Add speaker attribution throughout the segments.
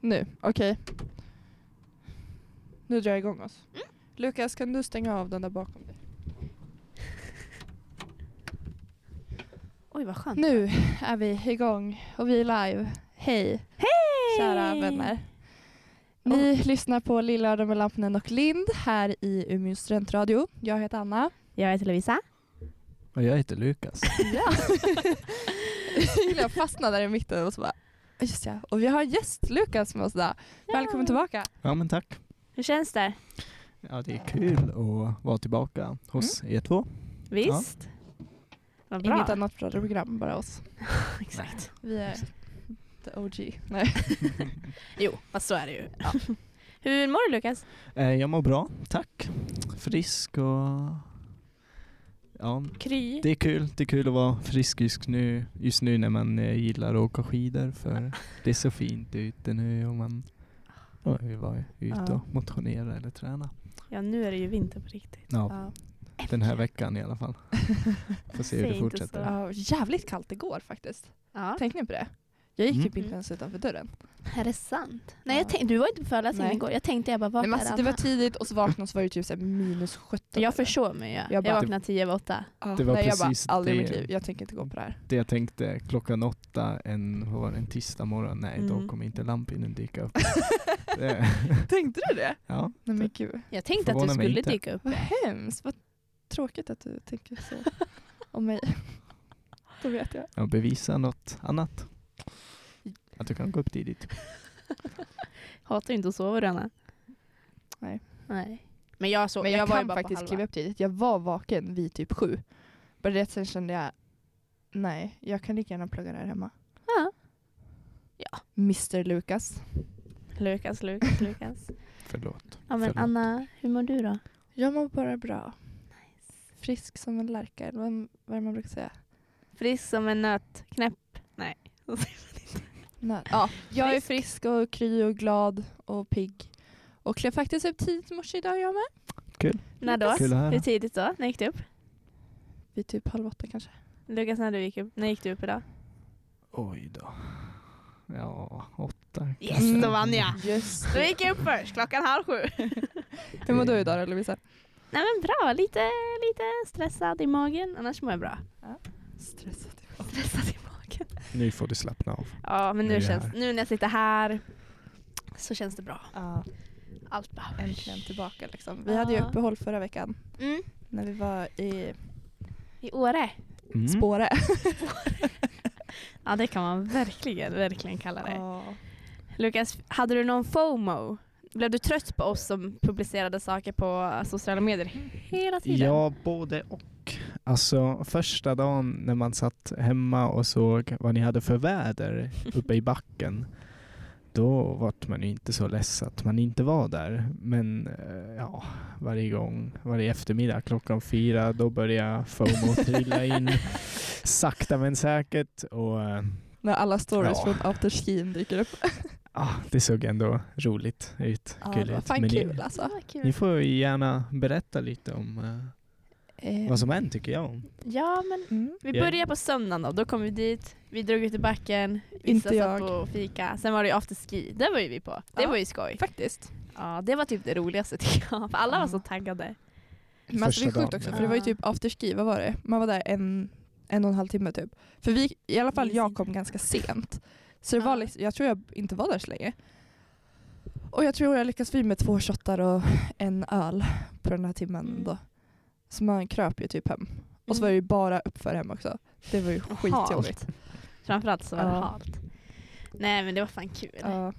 Speaker 1: Nu, okej. Nu drar jag igång oss. Lukas, kan du stänga av den där bakom dig?
Speaker 2: Oj vad skönt.
Speaker 1: Nu är vi igång och vi är live. Hej,
Speaker 2: Hej!
Speaker 1: kära vänner. Ni lyssnar på Lillörden med Lampinen och Lind här i Umeå studentradio. Jag heter Anna.
Speaker 2: Jag heter Lovisa.
Speaker 3: Och jag heter Lukas.
Speaker 1: Ja. jag fastnade där i mitten och så bara, "Ah, just ja. Och vi har en gäst, Lukas, med oss idag. Välkommen tillbaka.
Speaker 3: Ja men tack.
Speaker 2: Hur känns det?
Speaker 3: Ja det är kul att vara tillbaka hos er två.
Speaker 2: Visst? Vad bra.
Speaker 1: Inget annat program, bara oss.
Speaker 2: Exakt.
Speaker 1: Vi är the OG. Nej.
Speaker 2: Jo, fast så är det ju. Ja. Hur mår du Lukas?
Speaker 3: Eh, jag mår bra, tack. Frisk och... Ja,
Speaker 2: Kry.
Speaker 3: det är kul. Det är kul att vara frisk just nu, just nu när man eh, gillar att åka skidor för det är så fint ute nu och man ja, vill vara ute
Speaker 2: Ja.
Speaker 3: och motionera eller träna.
Speaker 2: Ja, nu är det ju vinter på riktigt.
Speaker 3: Ja, den här veckan i alla fall. Får se
Speaker 2: Säg
Speaker 3: hur det
Speaker 2: inte
Speaker 3: fortsätter.
Speaker 2: så.
Speaker 1: Ja, jävligt kallt igår faktiskt.
Speaker 2: Ja.
Speaker 1: Tänkte ni på det? Jag gick
Speaker 3: Mm.
Speaker 1: typ inte ens utanför dörren.
Speaker 2: Är det sant? Nej, jag
Speaker 1: Ja.
Speaker 2: tänk, du var inte på föreläsningen
Speaker 1: Nej.
Speaker 2: igår. Jag tänkte jag bara, vart
Speaker 1: Nej, men
Speaker 2: är
Speaker 1: alltså, det var
Speaker 2: Anna?
Speaker 1: tidigt och så vaknade och så var det typ så här minus 17.
Speaker 2: Jag försov mig ju. Jag,
Speaker 1: bara-
Speaker 2: vaknade tio över åtta.
Speaker 1: Ja,
Speaker 3: Det var
Speaker 1: nej,
Speaker 3: precis
Speaker 1: jag bara, aldrig i mitt
Speaker 3: det.
Speaker 1: liv. Jag tänker inte gå på det här.
Speaker 3: Det jag tänkte, klockan åtta en, vad var det, en tisdag morgon, nej
Speaker 2: Mm.
Speaker 3: då kommer inte lampinen dyka upp. Det-
Speaker 1: Tänkte du det?
Speaker 3: ja,
Speaker 1: Nej men gud.
Speaker 2: Jag tänkte att du
Speaker 3: Förvånar mig
Speaker 2: skulle
Speaker 3: inte.
Speaker 2: dyka upp.
Speaker 1: Vad hemskt. Vad tråkigt att du tänker så om mig. Då vet jag.
Speaker 3: ja, bevisa något annat. Att du kan gå upp tidigt.
Speaker 2: Hatar ju inte att sova du Anna.
Speaker 1: Nej.
Speaker 2: Nej. Men jag, sov,
Speaker 1: men jag,
Speaker 2: var ju
Speaker 1: kan
Speaker 2: bara
Speaker 1: faktiskt
Speaker 2: på
Speaker 1: kliva
Speaker 2: halva.
Speaker 1: upp tidigt. Jag var vaken vid typ sju. Bara det att sen kände jag, nej, jag kan lika gärna plugga där hemma.
Speaker 2: Ja.
Speaker 1: Mr Lukas.
Speaker 2: Lukas, Lukas, Lukas.
Speaker 3: Förlåt.
Speaker 2: Ja men
Speaker 3: Förlåt.
Speaker 2: Anna, hur mår du då?
Speaker 1: Jag mår bara bra. Frisk som en lärka, eller vad, vad är det man brukar säga?
Speaker 2: Frisk som en nöt. Knäpp. Nej.
Speaker 1: När, ja, jag är
Speaker 2: Frisk.
Speaker 1: frisk och kry och glad och pigg. Och klev faktiskt upp tidigt i morse idag jag med.
Speaker 2: När då?
Speaker 3: Kul att höra.
Speaker 2: Hur tidigt då? När gick du upp?
Speaker 1: Vid typ halv åtta kanske.
Speaker 2: Lukas, när, du gick upp, när gick du upp idag?
Speaker 3: Oj då. Ja, åtta
Speaker 2: Yes,
Speaker 3: kanske.
Speaker 2: då vann jag.
Speaker 1: Just
Speaker 2: Då gick jag upp först, klockan halv sju.
Speaker 1: Hur mår du idag då Lovisa?
Speaker 2: Nej men bra, lite, lite stressad i magen. Annars mår jag bra.
Speaker 1: Stressad.
Speaker 2: Stressad i magen.
Speaker 3: Nu får du slappna av.
Speaker 2: Ja, men
Speaker 3: Nu är
Speaker 2: nu,
Speaker 3: jag
Speaker 2: känns,
Speaker 3: här.
Speaker 2: nu när jag sitter här så känns det bra.
Speaker 1: Ja,
Speaker 2: Allt bra.
Speaker 1: äntligen tillbaka liksom. Vi hade ju
Speaker 2: Ja.
Speaker 1: uppehåll förra veckan
Speaker 2: Mm.
Speaker 1: när vi var i
Speaker 2: I Åre.
Speaker 3: Mm.
Speaker 1: Spåre.
Speaker 2: Ja, det kan man verkligen, verkligen kalla det.
Speaker 1: Ja.
Speaker 2: Lukas, hade du någon FOMO? Blev du trött på oss som publicerade saker på sociala medier hela tiden?
Speaker 3: Ja, både och. Alltså första dagen när man satt hemma och såg vad ni hade för väder uppe i backen. Då var man ju inte så less att man inte var där. Men eh, ja, varje gång, varje eftermiddag klockan fyra, då började FOMO trilla in sakta men säkert. Och eh,
Speaker 1: När alla stories
Speaker 3: Ja.
Speaker 1: från afterskin dyker upp.
Speaker 3: ah, det såg ändå roligt ut.
Speaker 1: Ja, det var
Speaker 3: gulligt.
Speaker 1: fan
Speaker 3: Men
Speaker 1: kul
Speaker 3: ni,
Speaker 1: alltså.
Speaker 3: ni får ju gärna berätta lite om eh,
Speaker 1: Eh,
Speaker 3: vad som hänt tycker jag.
Speaker 2: Ja, men
Speaker 1: mm.
Speaker 2: vi
Speaker 3: Ja.
Speaker 2: började på söndagen då. Då kom vi dit, vi drog ut i backen,
Speaker 1: Inte
Speaker 2: vissa satt
Speaker 1: jag.
Speaker 2: på fika. Sen var det ju afterski, det var ju vi på. Det
Speaker 1: Ja.
Speaker 2: var ju skoj.
Speaker 1: Faktiskt.
Speaker 2: Ja, det var typ det roligaste tycker jag. För alla var
Speaker 1: Ja.
Speaker 2: så
Speaker 1: Men
Speaker 2: taggade.
Speaker 1: alltså, det är
Speaker 3: Första
Speaker 1: sjukt
Speaker 3: dagen,
Speaker 1: också
Speaker 3: ja.
Speaker 1: för det var ju typ afterski, vad var det? Man var där en, en och en halv timme typ. För vi, i alla fall jag kom ganska sent. Så det
Speaker 2: Ja.
Speaker 1: var liksom, jag tror jag inte var där så länge. Och jag tror jag lyckas vi med två shottar och en öl på den här timmen
Speaker 2: Mm.
Speaker 1: då. Så man kröp ju typ hem. Och så var det ju bara uppför hem också. Det var ju skitjobbigt.
Speaker 2: Framförallt så var det
Speaker 1: Ja.
Speaker 2: halt. Nej men det var fan kul.
Speaker 1: Ja.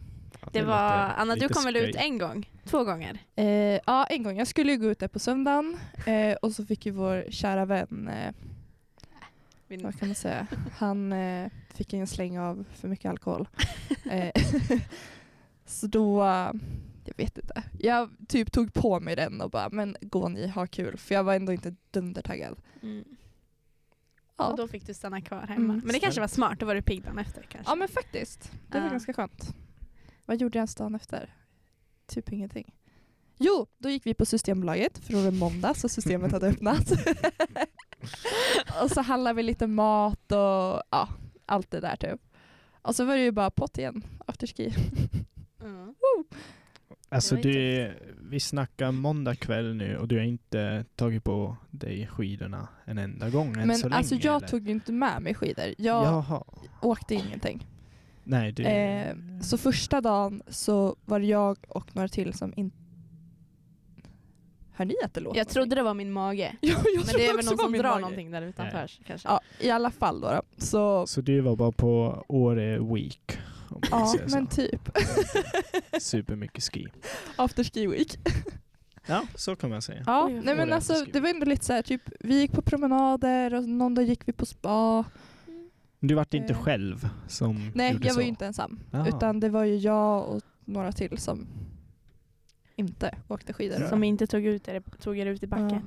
Speaker 2: Det var, Anna du kom
Speaker 3: kommer
Speaker 2: väl ut en gång? Två gånger?
Speaker 1: Eh, ja, en gång. Jag skulle ju gå ut där på söndagen eh, och så fick ju vår kära vän, eh, vad kan man säga, han eh, fick en släng av för mycket alkohol. Eh, så då, eh, jag vet inte, jag typ tog på mig den och bara, men gå ni, ha kul. För jag var ändå inte dundertaggad.
Speaker 2: Mm.
Speaker 1: Ja,
Speaker 2: Och då fick du stanna kvar hemma.
Speaker 1: Mm.
Speaker 2: Men det kanske var smart, då var du pigg dagen efter kanske.
Speaker 1: ja men faktiskt, det var
Speaker 2: Ja.
Speaker 1: ganska skönt. Vad gjorde jag ens dagen efter? Typ ingenting. Jo, då gick vi på Systembolaget, för då var det måndag så systemet hade öppnat. och så handlade vi lite mat och ja, allt det där typ. Och så var det ju bara pott igen, afterski.
Speaker 2: Mm.
Speaker 3: Alltså
Speaker 2: Det var
Speaker 3: du, vi snackar måndag kväll nu och du har inte tagit på dig skidorna en enda gång än
Speaker 1: Men
Speaker 3: så länge.
Speaker 1: alltså jag
Speaker 3: eller?
Speaker 1: tog ju inte med mig skidor. Jag
Speaker 3: Jaha.
Speaker 1: åkte ingenting.
Speaker 3: Nej, du...
Speaker 1: Eh, så första dagen så var det jag och några till som inte... Hör ni att det låter?
Speaker 2: Jag trodde det var min mage.
Speaker 1: Ja, jag
Speaker 2: Men
Speaker 1: trodde
Speaker 2: det är väl
Speaker 1: också
Speaker 2: någon
Speaker 1: var
Speaker 2: som
Speaker 1: min
Speaker 2: drar
Speaker 1: mage.
Speaker 2: någonting där utanför kanske.
Speaker 1: Ja, i alla fall då. då. Så,
Speaker 3: Så du var bara på Åre Week? Om man
Speaker 1: ja,
Speaker 3: säger
Speaker 1: men
Speaker 3: så.
Speaker 1: typ.
Speaker 3: Supermycket ski.
Speaker 1: After ski week.
Speaker 3: Ja, så kan man säga.
Speaker 1: Ja,
Speaker 2: Oj, oj,
Speaker 1: nej men
Speaker 3: oj.
Speaker 1: alltså det var ändå lite så här, typ vi gick på promenader och någon dag gick vi på spa.
Speaker 3: Du vart inte
Speaker 1: Eh.
Speaker 3: själv som
Speaker 1: Nej,
Speaker 3: gjorde
Speaker 1: jag
Speaker 3: så?
Speaker 1: var ju inte ensam.
Speaker 3: Jaha.
Speaker 1: Utan det var ju jag och några till som inte åkte skidor.
Speaker 3: Ja.
Speaker 2: Som inte tog, ut er, tog er ut i backen.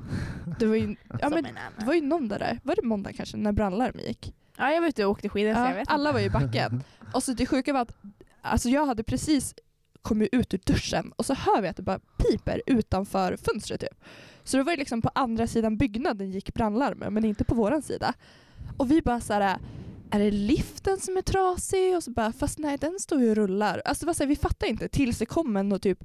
Speaker 1: Ja. Det var ju, ja,
Speaker 2: Som
Speaker 1: men,
Speaker 2: en annan.
Speaker 1: det var ju någon där, där, var det måndag kanske, när brandlarm gick?
Speaker 2: Ja, jag var ute och åkte skidor så jag
Speaker 1: Ja,
Speaker 2: vet
Speaker 1: alla var ju i backen. Och så det sjuka var att alltså jag hade precis kommit ut ur duschen och så hör vi att det bara piper utanför fönstret. Typ. Så det var ju liksom på andra sidan byggnaden gick brandlarmen men inte på våran sida. Och vi bara såhär, är det liften som är trasig? Och så bara, fast nej den står ju och rullar. Alltså det var så här, vi fattade inte tills det kom en och typ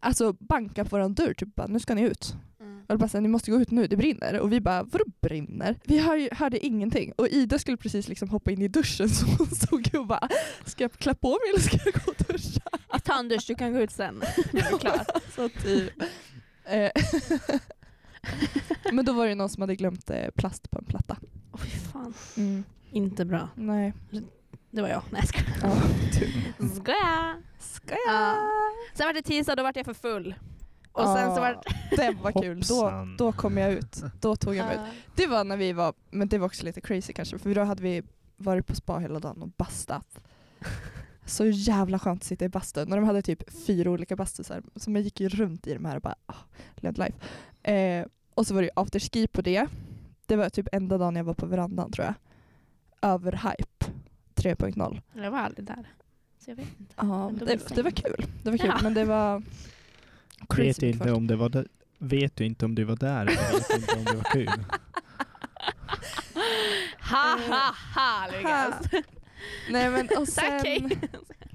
Speaker 1: alltså banka på våran dörr typ bara, nu ska ni ut.
Speaker 2: inte. Mm.
Speaker 1: Och bara såhär, ni måste gå ut nu, det brinner. Och vi bara, vadå brinner? Vi hör, ju- hörde ingenting. Och Ida skulle precis liksom hoppa in i duschen så hon stod ju och bara, ska jag klä på mig eller ska jag gå och duscha?
Speaker 2: Ta en dusch, du kan gå ut sen. är klart.
Speaker 1: Så typ. Eh, Men då var det någon som hade glömt eh, plast på en platta.
Speaker 2: Åh, fy fan.
Speaker 1: Mm.
Speaker 2: Inte bra.
Speaker 1: Nej.
Speaker 2: Det var jag. Nej, jag skojar.
Speaker 1: Ja,
Speaker 2: Skoja.
Speaker 1: Skoja!
Speaker 2: Ja. Sen var det tisdag, då vart jag för full. Och sen så var
Speaker 1: Ah. det var kul. Då,
Speaker 3: Hoppsan.
Speaker 1: då kom jag ut. Då tog jag mig ut.
Speaker 2: det...
Speaker 1: Det var när vi var, men det var också lite crazy kanske, för då hade vi varit på spa hela dagen och bastat. Så jävla skönt att sitta i bastun. När de hade typ fyra olika bastusar, så man gick ju runt i de här och bara oh, led life. Eh, och så var det ju afterski på det. Det var typ enda dagen jag var på verandan tror jag. Överhype 3.0.
Speaker 2: Jag var aldrig där. Så jag vet inte.
Speaker 1: Ja,
Speaker 2: Men då
Speaker 1: det,
Speaker 2: missade
Speaker 1: det
Speaker 2: jag.
Speaker 1: var kul. Det var kul,
Speaker 2: Ja.
Speaker 1: men det var crazy
Speaker 3: Vet
Speaker 1: mycket folk.
Speaker 3: inte om det var där. Vet du inte om du var där? eller Vet du inte om det var kul?
Speaker 2: Ha ha ha Lukas!
Speaker 1: Nej men och sen...
Speaker 2: Tack hej!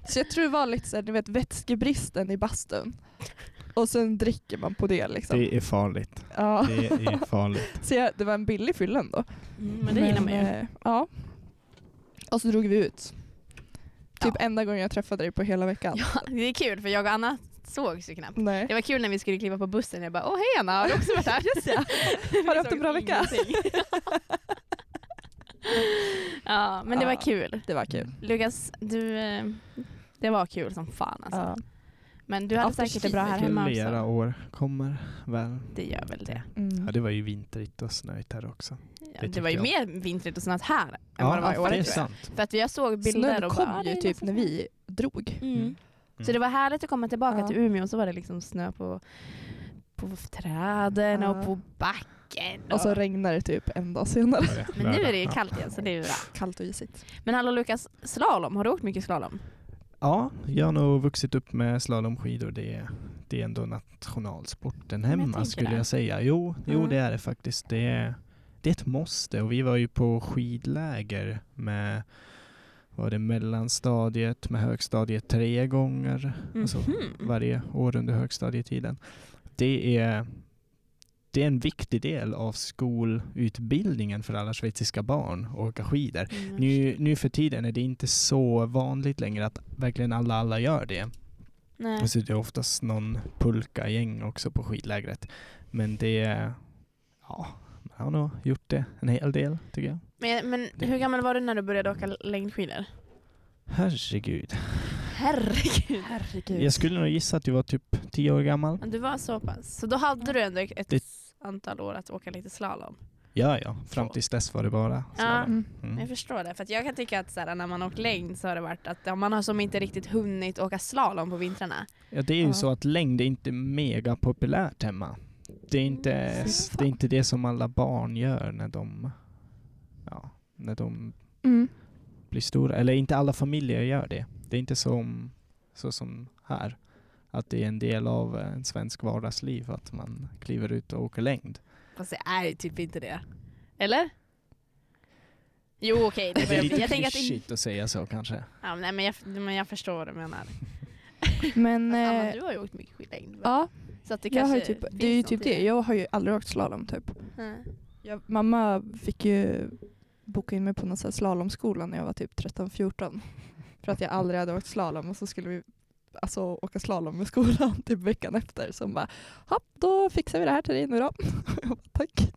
Speaker 1: Så jag tror det var lite såhär, ni vet vätskebristen i bastun. Och sen dricker man på det liksom.
Speaker 3: Det är farligt.
Speaker 1: ja.
Speaker 3: Det är farligt.
Speaker 1: så jag, det var en billig fylla ändå.
Speaker 2: Mm, men det gillar man ju.
Speaker 1: eh, Ja. Och så drog vi ut. Typ enda gången jag träffade dig på hela veckan.
Speaker 2: Ja, det är kul för jag och Anna sågs ju knappt.
Speaker 1: Nej.
Speaker 2: Det var kul när vi skulle kliva på bussen. Jag bara åh hej Anna, har du också varit här?
Speaker 1: Yes, ja.
Speaker 2: Vi
Speaker 1: Har du haft en
Speaker 2: sågs
Speaker 1: bra vecka?
Speaker 2: ingenting. ja men det
Speaker 1: Ja.
Speaker 2: var kul.
Speaker 1: Det var kul.
Speaker 2: Lukas, du, eh, det var kul som fan alltså.
Speaker 1: Ja.
Speaker 2: Men du hade
Speaker 1: Afterski
Speaker 2: säkert det bra här
Speaker 1: är kul.
Speaker 2: hemma
Speaker 3: Flera
Speaker 2: också.
Speaker 3: år kommer väl.
Speaker 2: Det gör väl det.
Speaker 1: Mm.
Speaker 3: Ja, det var ju vintrigt och snöigt här också.
Speaker 2: Ja, det
Speaker 3: tycker
Speaker 2: var ju
Speaker 3: jag.
Speaker 2: mer vintrigt och sånt här än vad det var i
Speaker 3: Ja,
Speaker 2: år.
Speaker 3: det är
Speaker 2: tror jag.
Speaker 3: sant.
Speaker 2: För att jag såg bilder
Speaker 1: Snön
Speaker 2: och
Speaker 1: kom
Speaker 2: bara, "Ah, det
Speaker 1: ju
Speaker 2: är
Speaker 1: typ
Speaker 2: nästan
Speaker 1: när
Speaker 2: snö."
Speaker 1: vi drog.
Speaker 2: Mm.
Speaker 3: Mm.
Speaker 2: Så det var härligt att komma tillbaka
Speaker 1: Ja.
Speaker 2: till Umeå och så var det liksom snö på, på träden
Speaker 1: Ja.
Speaker 2: och på backen.
Speaker 1: Och så regnade det typ en dag senare.
Speaker 2: men nu är det ju
Speaker 3: Ja.
Speaker 2: kallt igen så det är ju bra.
Speaker 1: Kallt och isigt.
Speaker 2: Men hallå Lukas, slalom, har du åkt mycket slalom?
Speaker 3: Ja, jag har nog vuxit upp med slalomskidor. Det är, det är ändå
Speaker 2: Men
Speaker 3: nationalsporten
Speaker 2: jag
Speaker 3: hemma
Speaker 2: tänker
Speaker 3: skulle
Speaker 2: det.
Speaker 3: jag säga. Jo, jo
Speaker 2: Ja.
Speaker 3: det är det faktiskt. Det är, det är ett måste och vi var ju på skidläger med var det mellanstadiet med högstadiet tre gånger alltså,
Speaker 2: Mhm.
Speaker 3: varje år under högstadietiden. Det är, det är en viktig del av skolutbildningen för alla schweiziska barn att åka skidor.
Speaker 2: Mm.
Speaker 3: Nu, nu för tiden är det inte så vanligt längre att verkligen alla alla gör det.
Speaker 2: Nej.
Speaker 3: Alltså det är oftast någon pulka-gäng också på skidlägret. Men det, ja, man har nog gjort det en hel del tycker jag.
Speaker 2: Men, men hur gammal var du när du började åka längdskidor?
Speaker 3: Herregud.
Speaker 2: Herregud.
Speaker 1: Herregud.
Speaker 3: Jag skulle nog gissa att du var typ tio år gammal.
Speaker 2: Men Du var så pass. Så då hade du ändå ett
Speaker 3: Det-
Speaker 2: antal år att åka lite slalom.
Speaker 3: Ja, ja. Fram tills dess var det bara slalom.
Speaker 1: Mm.
Speaker 2: Men
Speaker 3: Mm.
Speaker 2: Jag förstår det. För att jag kan tycka att så här, när man har åkt längd så har det varit att ja, man har som inte riktigt hunnit åka slalom på vintrarna.
Speaker 3: Ja, det är ju
Speaker 1: Ja.
Speaker 3: så att längd är inte mega populärt hemma. Det är inte,
Speaker 2: Mm,
Speaker 1: så
Speaker 3: det, är inte det som alla barn gör när de, ja, när de
Speaker 1: Mm.
Speaker 3: blir stora. Eller inte alla familjer gör det. Det är inte som, så som här. Att det är en del av eh, en svensk vardagsliv att man kliver ut och åker längd.
Speaker 2: Fast det är ju typ inte det. Eller? Jo okej, det
Speaker 3: Det är
Speaker 2: börjar bli.
Speaker 3: lite
Speaker 2: Jag tänker att... In...
Speaker 4: Mm.
Speaker 3: klyschigt att säga så kanske.
Speaker 2: Ja, nej, men, jag, men jag förstår vad du menar.
Speaker 1: Men
Speaker 4: Fast Anna,
Speaker 1: eh,
Speaker 4: du har ju åkt mycket skidlängd. va?
Speaker 1: ja,
Speaker 4: Så att det
Speaker 1: jag har ju
Speaker 4: kanske
Speaker 1: typ, det är ju
Speaker 4: finns
Speaker 1: typ
Speaker 4: något i
Speaker 1: det. Jag har ju aldrig åkt slalom typ.
Speaker 4: Nej.
Speaker 1: Jag, mamma fick ju boka in mig på någon så här slalomskola när jag var typ 13-14. För att jag aldrig hade åkt slalom och så skulle vi alltså, åka slalom med skolan typ veckan efter. Så hon bara, hopp då fixar vi det här till dig nu då. jag bara, tack.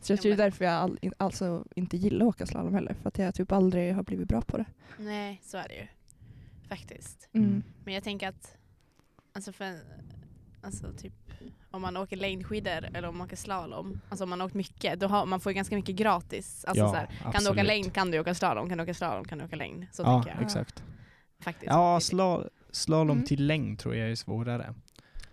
Speaker 1: Så jag tror det är därför jag all, in, alltså inte gillar att åka slalom heller. För att jag typ aldrig har blivit bra på det.
Speaker 4: Nej, så är det ju. Faktiskt.
Speaker 1: Mm.
Speaker 4: Men jag tänker att, alltså för en, alltså typ om man åker längdskidor eller om man åker slalom, alltså om man har åkt mycket, då har, man får ju ganska mycket gratis. Alltså så här, kan du åka
Speaker 3: absolut.
Speaker 4: längd kan du åka slalom, kan du åka slalom kan du åka längd. Så
Speaker 3: Ja,
Speaker 4: tänker jag.
Speaker 3: exakt.
Speaker 4: Faktiskt.
Speaker 3: Ja, sla, slalom
Speaker 1: Mm.
Speaker 3: till längd tror jag är svårare.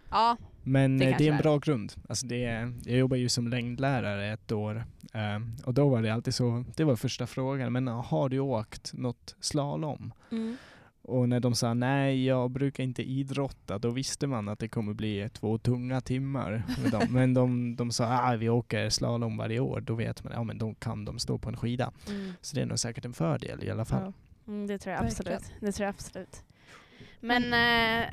Speaker 4: ja,
Speaker 3: Men
Speaker 4: Det
Speaker 3: det, det
Speaker 4: kanske
Speaker 3: är en
Speaker 4: är.
Speaker 3: bra grund. Alltså det är, jag jobbar ju som längdlärare ett år eh, och då var det alltid så, det var första frågan, men eh, har du åkt något slalom?
Speaker 4: mm.
Speaker 3: Och när de sa nej, jag brukar inte idrotta, då visste man att det kommer bli två tunga timmar med dem. Men de, de sa ah, vi åker slalom varje år, då vet man, ja men de kan de stå på en skida.
Speaker 4: Mm.
Speaker 3: Så det är nog säkert en fördel i alla fall.
Speaker 1: Ja.
Speaker 4: Mm, det tror jag
Speaker 1: Verkligen.
Speaker 4: absolut. Det tror jag absolut. Men eh,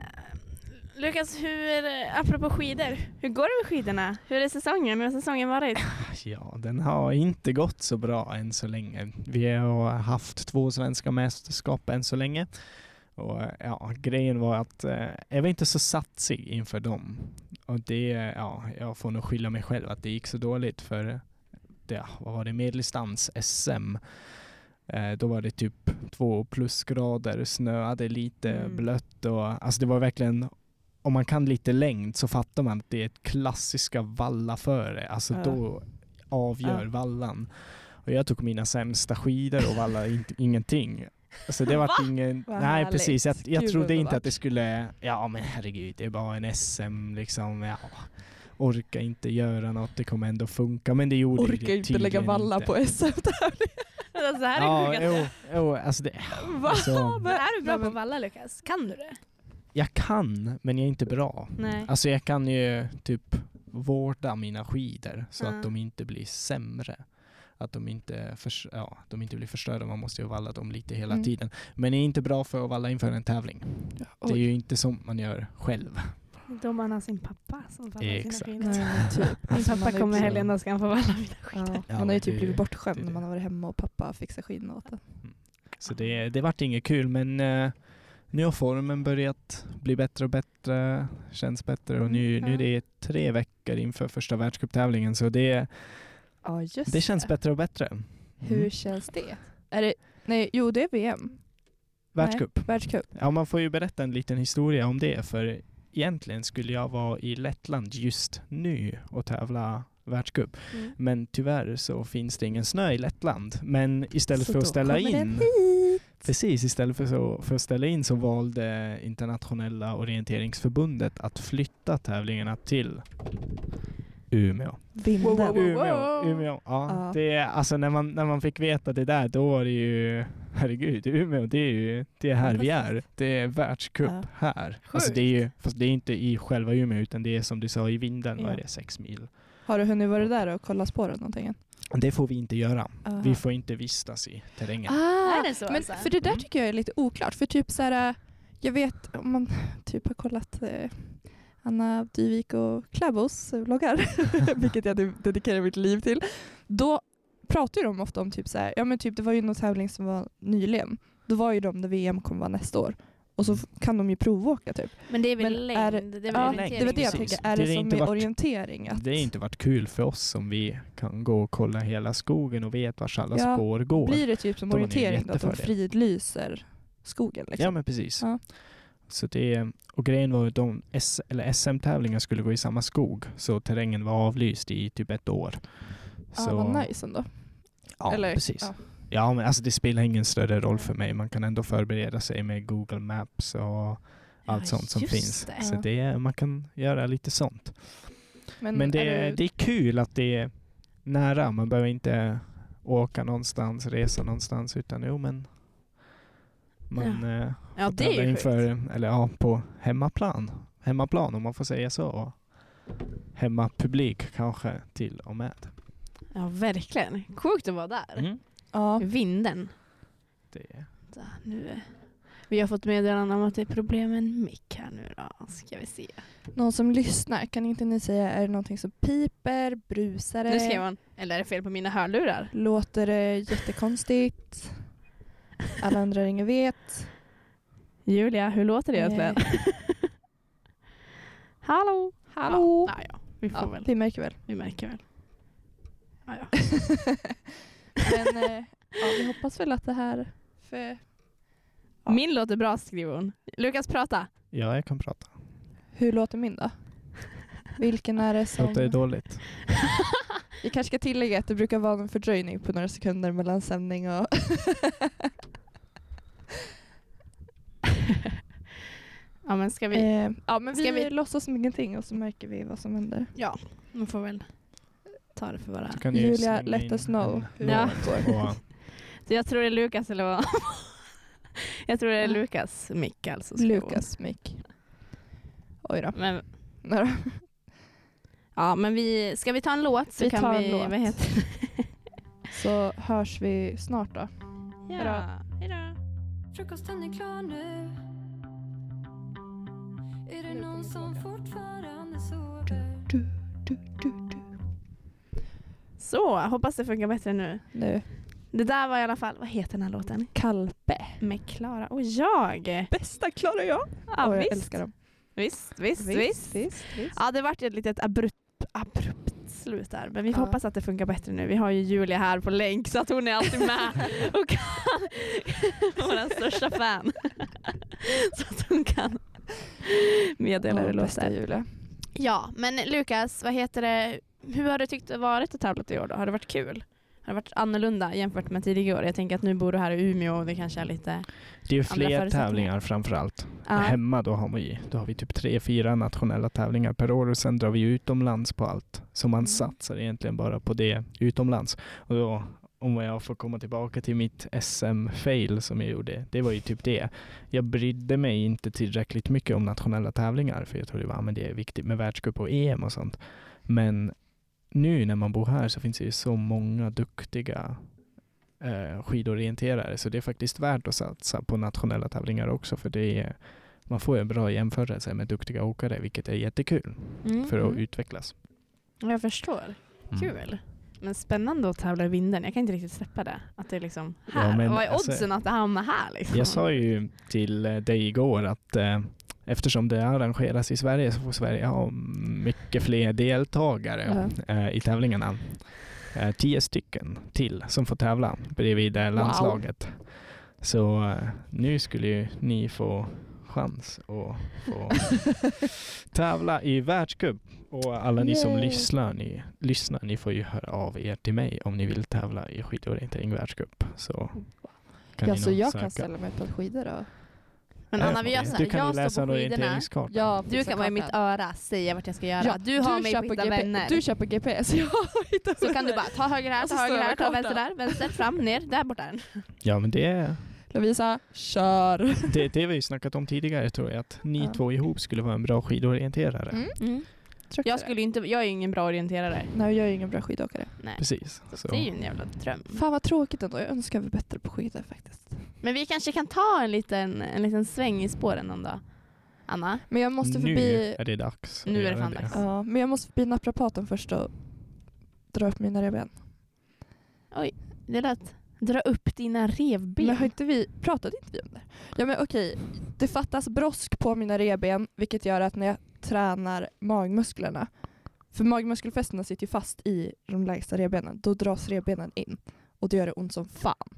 Speaker 4: Lukas, hur, eh, apropå skidor, hur går det med skidorna? Hur är säsongen? Hur har säsongen varit?
Speaker 3: Ja, den har inte gått så bra än så länge. Vi har haft två svenska mästerskap än så länge. Och ja, grejen var att eh, jag var inte så satsig inför dem. Och det, ja, jag får nog skylla mig själv att det gick så dåligt för det, vad var det, medeldistans-SM. Eh, då var det typ två plusgrader, snöade lite,
Speaker 4: Mm.
Speaker 3: blött och alltså det var verkligen om man kan lite längd så fattar man att det är ett klassiska vallaföre. Alltså
Speaker 1: Ja.
Speaker 3: då avgör
Speaker 1: Ja.
Speaker 3: vallan. Och jag tog mina sämsta skidor och vallade inte, ingenting. Så det
Speaker 4: Va?
Speaker 3: var ingen...
Speaker 1: Vad
Speaker 3: Nej
Speaker 1: härligt.
Speaker 3: precis, jag, jag
Speaker 1: Gud,
Speaker 3: trodde
Speaker 1: vad
Speaker 3: inte att det
Speaker 1: vackert.
Speaker 3: skulle... Ja men herregud, det är bara en SM liksom. Ja. Orka inte göra något, det kommer ändå funka. Men det gjorde det
Speaker 1: Orkar inte lägga
Speaker 3: tydligen
Speaker 1: valla
Speaker 3: inte.
Speaker 1: på SM-tävling.
Speaker 4: Alltså, det här är
Speaker 3: Ja,
Speaker 4: sjukaste.
Speaker 3: jo, jo, alltså det,
Speaker 1: Va?
Speaker 3: alltså,
Speaker 4: Men är du bra
Speaker 1: Nej,
Speaker 4: på
Speaker 1: men-
Speaker 4: att valla Lukas? Kan du det?
Speaker 3: jag kan, men jag är inte bra.
Speaker 4: Nej.
Speaker 3: Alltså jag kan ju typ vårda mina skidor så
Speaker 4: Ja.
Speaker 3: att de inte blir sämre. Att de inte, förs- ja, de inte blir förstörda, man måste ju valla dem lite hela
Speaker 1: Mm.
Speaker 3: tiden. Men det är inte bra för att valla inför en tävling. Det är ju inte sånt man gör själv.
Speaker 4: Då man har sin pappa som vallar
Speaker 3: sina Exakt.
Speaker 4: sina
Speaker 1: Nej, men typ.
Speaker 4: Min
Speaker 1: Alltså, man
Speaker 4: pappa
Speaker 1: är ju
Speaker 4: kommer i
Speaker 1: så-
Speaker 4: helgen, då ska han få valla mina
Speaker 1: Ja,
Speaker 4: skidor.
Speaker 1: man har ju
Speaker 3: men
Speaker 1: typ
Speaker 3: det-
Speaker 1: blivit bortskämd
Speaker 3: det-
Speaker 1: när man har varit hemma och pappa fixar skidorna åt en.
Speaker 3: Så det, det vart inget kul men eh, nu har formen börjat bli bättre och bättre, känns bättre och nu,
Speaker 1: Mm,
Speaker 3: nu är det tre veckor inför första världscuptävlingen så det,
Speaker 1: Ja, just
Speaker 3: det känns bättre och bättre. Mm.
Speaker 1: Hur känns det? Är det? Nej, jo det är VM.
Speaker 3: Världscup.
Speaker 1: Världscup.
Speaker 3: Ja, man får ju berätta en liten historia om det, för egentligen skulle jag vara i Lettland just nu och tävla världscup.
Speaker 4: Mm.
Speaker 3: Men tyvärr så finns det ingen snö i Lettland. Men istället
Speaker 1: Så
Speaker 3: för
Speaker 1: då
Speaker 3: att ställa
Speaker 1: kommer den
Speaker 3: in, precis istället för, så, för att ställa in så valde internationella orienteringsförbundet att flytta tävlingarna till Umeå.
Speaker 1: Vinden.
Speaker 4: Wow, wow, wow.
Speaker 3: Umeå, Umeå. Ja,
Speaker 1: Ja.
Speaker 3: Det är, alltså när man, när man fick veta det där, då var det ju, herregud, Umeå, det är ju, det är här vi är. Det är världscup
Speaker 1: Ja.
Speaker 3: här. Alltså det är ju, fast det är inte i själva Umeå, utan det är som du sa i vinden, vad är
Speaker 1: Ja.
Speaker 3: det, sex mil?
Speaker 1: Har du hunnit vara där och kolla spåren någonting än?
Speaker 3: Det får vi inte göra.
Speaker 1: Aha.
Speaker 3: Vi får inte vistas i terrängen.
Speaker 1: Ah,
Speaker 4: Är det så,
Speaker 1: men
Speaker 4: alltså?
Speaker 1: För det
Speaker 3: Mm.
Speaker 1: där tycker jag är lite oklart. För typ så här, jag vet om man typ har kollat eh, Anna Dyvik och Kläbos vloggar, vilket jag de- dedikerar mitt liv till. Då pratar ju de ofta om typ så här, ja men typ det var ju någon tävling som var nyligen. Då var ju de när VM kommer vara nästa år. Och så f- kan de ju provåka typ.
Speaker 4: Men det är väl
Speaker 1: Men
Speaker 4: längd?
Speaker 1: är-
Speaker 4: det är väl
Speaker 1: Ja,
Speaker 4: orientering?
Speaker 1: det var det jag
Speaker 3: Precis.
Speaker 1: tänker. Är det,
Speaker 3: Det är
Speaker 1: som
Speaker 3: inte
Speaker 1: med
Speaker 3: vart-
Speaker 1: orientering? Att,
Speaker 3: Det har inte varit kul för oss som vi kan gå och kolla hela skogen och vet vars alla
Speaker 1: Ja,
Speaker 3: spår går.
Speaker 1: Blir det typ som
Speaker 3: Då var det
Speaker 1: orientering då, att de
Speaker 3: jättefördel.
Speaker 1: fridlyser skogen? Liksom?
Speaker 3: Ja men precis.
Speaker 1: Ja.
Speaker 3: Så det, och grejen var att de S, eller SM-tävlingar skulle gå i samma skog så terrängen var avlyst i typ ett år.
Speaker 1: ah,
Speaker 3: Så-
Speaker 1: vad nice ändå.
Speaker 3: Ja,
Speaker 1: Eller-
Speaker 3: precis.
Speaker 1: ja.
Speaker 3: Ja. men alltså det spelar ingen större roll för mig. Man kan ändå förbereda sig med Google Maps och allt
Speaker 4: Ja,
Speaker 3: sånt som
Speaker 4: just
Speaker 3: finns.
Speaker 4: det.
Speaker 3: Så det, man kan göra lite sånt. Men, det,
Speaker 1: är du-
Speaker 3: det är kul att det är nära. Man behöver inte åka någonstans, resa någonstans utan jo men man eh,
Speaker 4: Ja, det är
Speaker 3: tävla
Speaker 4: ju sjukt.
Speaker 3: inför, eller ja, på hemmaplan. Hemmaplan om man får säga så. Och Hemmapublik kanske till och med.
Speaker 4: Ja, verkligen. Mm. Sjukt att vara där.
Speaker 3: Mm.
Speaker 1: ja.
Speaker 4: Vinden.
Speaker 3: Det,
Speaker 4: Så, nu.
Speaker 2: Vi har fått meddelande om att det är problem med en mick här nu då. Ska vi se.
Speaker 1: Någon som lyssnar, kan inte ni säga är det någonting som piper, brusar
Speaker 2: Nu skrev
Speaker 1: det,
Speaker 2: hon, eller är det fel på mina hörlurar?
Speaker 1: låter det jättekonstigt? Alla andra ringer vet. Eh,
Speaker 2: Julia, hur låter det egentligen? Hallå?
Speaker 1: Hallå?
Speaker 2: Ja, nej, ja. Vi får
Speaker 1: Ja,
Speaker 2: väl.
Speaker 1: vi märker väl.
Speaker 2: Vi märker väl. Ja, ja.
Speaker 1: Men eh, ja, vi hoppas väl att det här... För, Ja.
Speaker 2: Min låter bra skriver hon. Lukas prata.
Speaker 3: Ja, jag kan prata.
Speaker 1: hur låter min då? Vilken är det som...
Speaker 3: Låter det dåligt?
Speaker 1: Vi kanske ska tillägga att det brukar vara en fördröjning på några sekunder mellan sändning och...
Speaker 2: Ja men ska vi,
Speaker 1: Eh, ja men vi,
Speaker 2: Ska vi-
Speaker 1: låtsas som ingenting och så märker vi vad som händer.
Speaker 2: man får väl ta det för vad det
Speaker 3: Du
Speaker 2: är.
Speaker 3: kan ju
Speaker 1: Julia,
Speaker 3: slänga
Speaker 1: let
Speaker 3: in
Speaker 1: us know
Speaker 3: en
Speaker 1: hur
Speaker 3: låt
Speaker 1: det går.
Speaker 2: Ja.
Speaker 3: på-
Speaker 2: Så jag tror det är Lukas eller vad? jag tror det är
Speaker 1: Ja.
Speaker 2: Lukas mick alltså. ska vara.
Speaker 1: Lukas mick. Oj då.
Speaker 2: Men,
Speaker 1: Nej
Speaker 2: Mm.
Speaker 1: då.
Speaker 2: ja men vi, ska vi ta en låt så
Speaker 1: Vi
Speaker 2: kan
Speaker 1: tar en
Speaker 2: vi,
Speaker 1: låt.
Speaker 2: vad heter
Speaker 1: Så hörs vi snart då.
Speaker 2: det?
Speaker 1: Hejdå.
Speaker 2: Hejdå.
Speaker 5: Frukosten är klar nu. Är det någon som fortfarande sover?
Speaker 1: Du, du, du, du.
Speaker 2: Så, hoppas det funkar bättre nu.
Speaker 1: Nu.
Speaker 2: Det där var i alla fall, vad heter den här låten?
Speaker 1: Kalpe.
Speaker 2: Med Klara och jag.
Speaker 1: Bästa klarar jag.
Speaker 2: Ja,
Speaker 1: och jag
Speaker 2: visst.
Speaker 1: älskar dem.
Speaker 2: Visst, visst, visst.
Speaker 1: visst, visst.
Speaker 2: Ja, det vart ett litet abrupt, abrupt slut där. Men vi får
Speaker 1: Ja.
Speaker 2: hoppas att det funkar bättre nu. Vi har ju Julia här på länk så att hon är alltid med och kan. Vår största fan. så att hon kan meddela hur det
Speaker 1: bästa
Speaker 2: låter.
Speaker 1: Julia.
Speaker 2: Ja, men Lukas, vad heter det? Hur har du tyckt det varit att tävla i år då? Har det varit kul? Har det varit annorlunda jämfört med tidigare år? Jag tänker att nu bor du här i Umeå och det kanske är lite...
Speaker 3: Det är ju
Speaker 2: Andra
Speaker 3: fler
Speaker 2: förutsättningar.
Speaker 3: tävlingar framför allt.
Speaker 2: Ja,
Speaker 3: Hemma då har, vi, då har vi typ tre, fyra nationella tävlingar per år och sen drar vi utomlands på allt. Så man
Speaker 2: Mm.
Speaker 3: satsar egentligen bara på det utomlands. Och då, om jag får komma tillbaka till mitt SM-fail som jag gjorde, det var ju typ det. Jag brydde mig inte tillräckligt mycket om nationella tävlingar för jag trodde bara, "Ah, men det är viktigt med världscup och EM och sånt. Men nu när man bor här så finns det ju så många duktiga eh, skidorienterare så det är faktiskt värt att satsa på nationella tävlingar också för det är, man får ju en bra jämförelse med duktiga åkare vilket är jättekul
Speaker 2: Mm.
Speaker 3: för att
Speaker 2: Mm.
Speaker 3: utvecklas.
Speaker 2: jag förstår.
Speaker 3: Mm.
Speaker 2: Kul. Men spännande att tävla i vinden. Jag kan inte riktigt släppa det. Att det är liksom
Speaker 3: Ja,
Speaker 2: här.
Speaker 3: men
Speaker 2: Vad är
Speaker 3: alltså-
Speaker 2: oddsen att det hamnar här? Liksom?
Speaker 3: Jag sa ju till eh, dig igår att eh, eftersom det arrangeras i Sverige så får Sverige ha mycket fler deltagare eh, i tävlingarna. Eh, tio stycken till som får tävla bredvid eh, landslaget. Så eh, nu skulle ju ni få chans att få tävla i världscup. Och alla ni som
Speaker 1: Yay.
Speaker 3: lyssnar ni, lyssnar, ni får ju höra av er till mig om ni vill tävla i skidorientering världscup. Så kan
Speaker 1: Ja,
Speaker 3: ni
Speaker 1: så
Speaker 3: nog
Speaker 1: jag
Speaker 3: söka. Eh,
Speaker 1: kan ställa mig på ett skidor då.
Speaker 2: men Anna, vi gör
Speaker 3: Du
Speaker 2: så här.
Speaker 3: kan ju
Speaker 2: Jag
Speaker 3: läsa
Speaker 2: står
Speaker 3: en
Speaker 2: på skidorna.
Speaker 3: orienteringskarta.
Speaker 1: Ja,
Speaker 2: Du kan vara i mitt öra, säga vart jag ska göra. du har mig på skilda vänner.
Speaker 1: Du kör på GPS. Jag hittar
Speaker 2: så kan du bara ta höger här,
Speaker 1: Och så
Speaker 2: ta höger
Speaker 1: står jag
Speaker 2: här,
Speaker 1: med
Speaker 2: ta vänster
Speaker 1: kartan.
Speaker 2: där, vänster, fram, ner, där borta. är den.
Speaker 3: Ja, men det,
Speaker 1: Lovisa, kör!
Speaker 3: det, det har vi ju snackat om tidigare tror jag, att ni
Speaker 1: Ja.
Speaker 3: två ihop skulle vara en bra skidorienterare.
Speaker 1: Mm.
Speaker 2: Jag, skulle ju inte, jag är ju ingen bra orienterare.
Speaker 1: Nej, jag är ingen bra skidåkare.
Speaker 2: Nej.
Speaker 3: Precis.
Speaker 2: Så
Speaker 3: Så.
Speaker 2: det är ju en jävla dröm.
Speaker 1: Fan vad tråkigt ändå. Jag önskar jag var bättre på skidor faktiskt.
Speaker 2: Men vi kanske kan ta en liten, en liten sväng i spåren någon dag. Anna?
Speaker 1: Men jag måste
Speaker 3: nu
Speaker 1: förbi,
Speaker 3: är det dags. att
Speaker 2: Nu är det
Speaker 3: göra
Speaker 2: fan dags.
Speaker 1: ja, men jag måste förbi naprapaten först och dra upp mina revben.
Speaker 2: Det lät... Dra upp dina revben.
Speaker 1: Men har inte vi, pratade inte vi om det? Ja men okej, det fattas brosk på mina revben vilket gör att när jag tränar magmusklerna, för magmuskelfästena sitter ju fast i de lägsta revbenen, då dras revbenen in och det gör det ont som fan.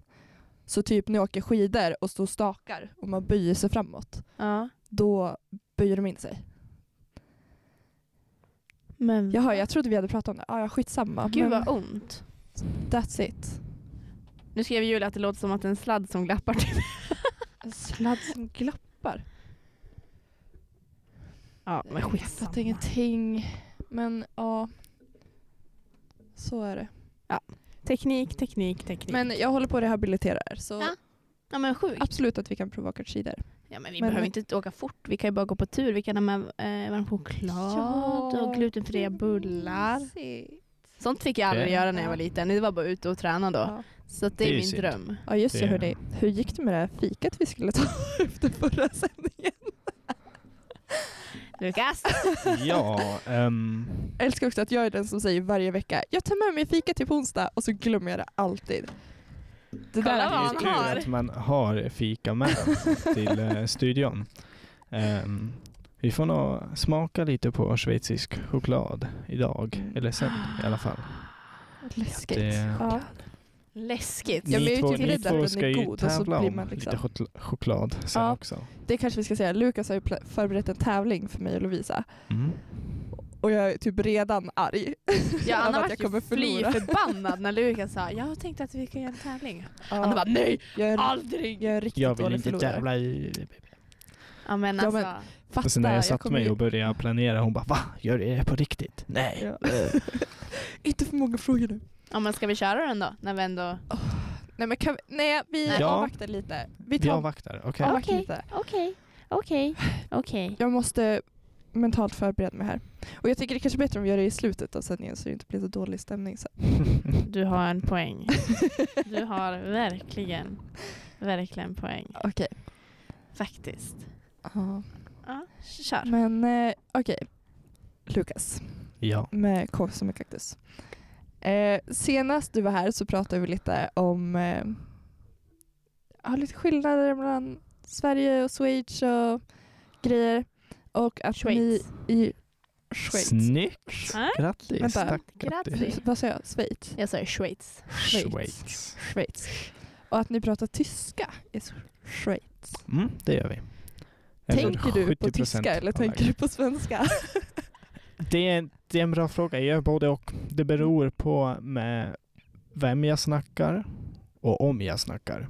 Speaker 1: Så typ när jag åker skidor och står och stakar och man böjer sig framåt,
Speaker 2: Ja.
Speaker 1: då böjer de in sig.
Speaker 2: Men
Speaker 1: Jaha, jag trodde vi hade pratat om det. Ah, ja, skitsamma. men
Speaker 2: Gud vad ont.
Speaker 1: that's it.
Speaker 2: Nu skrev Julia att det låter som att det är en sladd som glappar till.
Speaker 1: En sladd som glappar.
Speaker 2: Ja, men
Speaker 1: Jag
Speaker 2: skitsamma.
Speaker 1: fattar ingenting. Men ja, så är det.
Speaker 2: Teknik, teknik, teknik.
Speaker 1: Men jag håller på att rehabilitera er, så
Speaker 2: Ja. ja, men sjukt.
Speaker 1: absolut att vi kan prova att åka skidor.
Speaker 2: Ja, men vi
Speaker 1: Men-
Speaker 2: behöver inte åka fort. Vi kan ju bara gå på tur. Vi kan ha med eh, varm choklad och glutenfria bullar. Sånt fick jag aldrig
Speaker 3: Okej.
Speaker 2: göra när jag var liten. Det var bara ute och träna då.
Speaker 1: Ja.
Speaker 2: Så att det är,
Speaker 3: Det är ju
Speaker 2: min
Speaker 3: synd.
Speaker 2: dröm.
Speaker 1: Ja just det,
Speaker 3: Det-
Speaker 1: hur, det, hur gick det med det här fikat vi skulle ta efter förra sändningen?
Speaker 2: Lukas!
Speaker 3: Ja, ehm,
Speaker 1: Jag älskar också att jag är den som säger varje vecka, jag tar med mig fika till på onsdag och så glömmer jag det alltid. Det
Speaker 2: Kolla
Speaker 1: där
Speaker 3: det är
Speaker 2: vad
Speaker 3: ju
Speaker 2: han
Speaker 3: tur
Speaker 2: har.
Speaker 3: att man har fika med till eh, studion. Ehm, vi får nog smaka lite på schweizisk choklad idag,
Speaker 1: Mm.
Speaker 3: eller sen i alla fall.
Speaker 1: läskigt.
Speaker 3: Det-
Speaker 1: Ja.
Speaker 2: Läskigt.
Speaker 1: Ja, men jag
Speaker 3: Ni
Speaker 1: är
Speaker 3: två,
Speaker 1: typ
Speaker 3: ni
Speaker 1: rädd att
Speaker 3: två
Speaker 1: den
Speaker 3: ska
Speaker 1: är
Speaker 3: ju
Speaker 1: god och så
Speaker 3: tävla
Speaker 1: blir
Speaker 3: om
Speaker 1: man liksom-
Speaker 3: lite chok- choklad sen
Speaker 1: Ja.
Speaker 3: också.
Speaker 1: Det kanske vi ska säga, Lukas har ju pla- förberett en tävling för mig och Lovisa
Speaker 3: Mm.
Speaker 1: och jag är typ redan arg.
Speaker 2: Ja,
Speaker 1: Av
Speaker 2: Anna
Speaker 1: att
Speaker 2: vart
Speaker 1: jag
Speaker 2: ju
Speaker 1: kommer
Speaker 2: fly
Speaker 1: förlora.
Speaker 2: förbannad när Lukas sa jag tänkte att vi kan göra en tävling.
Speaker 1: Ja,
Speaker 2: Anna bara nej,
Speaker 1: jag, är,
Speaker 2: aldrig!
Speaker 1: jag är en riktigt
Speaker 3: Jag vill
Speaker 1: dålig
Speaker 3: inte
Speaker 1: förlorare.
Speaker 3: tävla i...
Speaker 2: Ja men
Speaker 1: Ja,
Speaker 2: alltså.
Speaker 1: men- Fatta,
Speaker 3: Och sen när jag satt
Speaker 1: kommer
Speaker 3: mig
Speaker 1: ju-
Speaker 3: och började planera, hon bara va? Gör du det på riktigt? Nej.
Speaker 1: Ja.
Speaker 3: Eh.
Speaker 1: Inte för många frågor nu.
Speaker 2: Ja, men ska vi köra den då? När vi ändå...
Speaker 1: Nej, men kan vi, nej vi
Speaker 3: Nej. Ja.
Speaker 1: avvaktar lite. Vi
Speaker 3: Vi
Speaker 1: tar,
Speaker 3: avvaktar, okej.
Speaker 1: avvaktar lite.
Speaker 4: Okej, okej, okej.
Speaker 1: Jag måste mentalt förbereda mig här. Och jag tycker det kanske är bättre om vi gör det i slutet av sändningen så det inte blir så dålig stämning sen.
Speaker 2: Du har en poäng. Du har verkligen, verkligen poäng.
Speaker 1: Okej.
Speaker 2: Faktiskt.
Speaker 1: Ja.
Speaker 2: Ja, kör.
Speaker 1: Men eh, okej. Lukas,
Speaker 3: ja.
Speaker 1: med K som en kaktus. Eh, senast du var här så pratade vi lite om eh, ja, lite skillnader mellan Sverige och Schweiz och grejer. Och att
Speaker 2: Schweiz.
Speaker 1: ni i Schweiz. Äh?
Speaker 3: Snyggt!
Speaker 2: Ah?
Speaker 3: Grattis!
Speaker 1: Vänta.
Speaker 3: Tack,
Speaker 2: Grattis.
Speaker 1: Vad sa jag? Schweiz?
Speaker 2: Jag sa Schweiz.
Speaker 3: Schweiz.
Speaker 1: Schweiz. Och att ni pratar tyska i Schweiz.
Speaker 3: Mm, det gör vi.
Speaker 1: Tänker du på
Speaker 3: 70%
Speaker 1: tyska eller
Speaker 3: av
Speaker 1: tänker
Speaker 3: läget.
Speaker 1: du på svenska?
Speaker 3: Det är, en- det är en bra fråga. Jag gör både och. Det beror på med vem jag snackar och om jag snackar.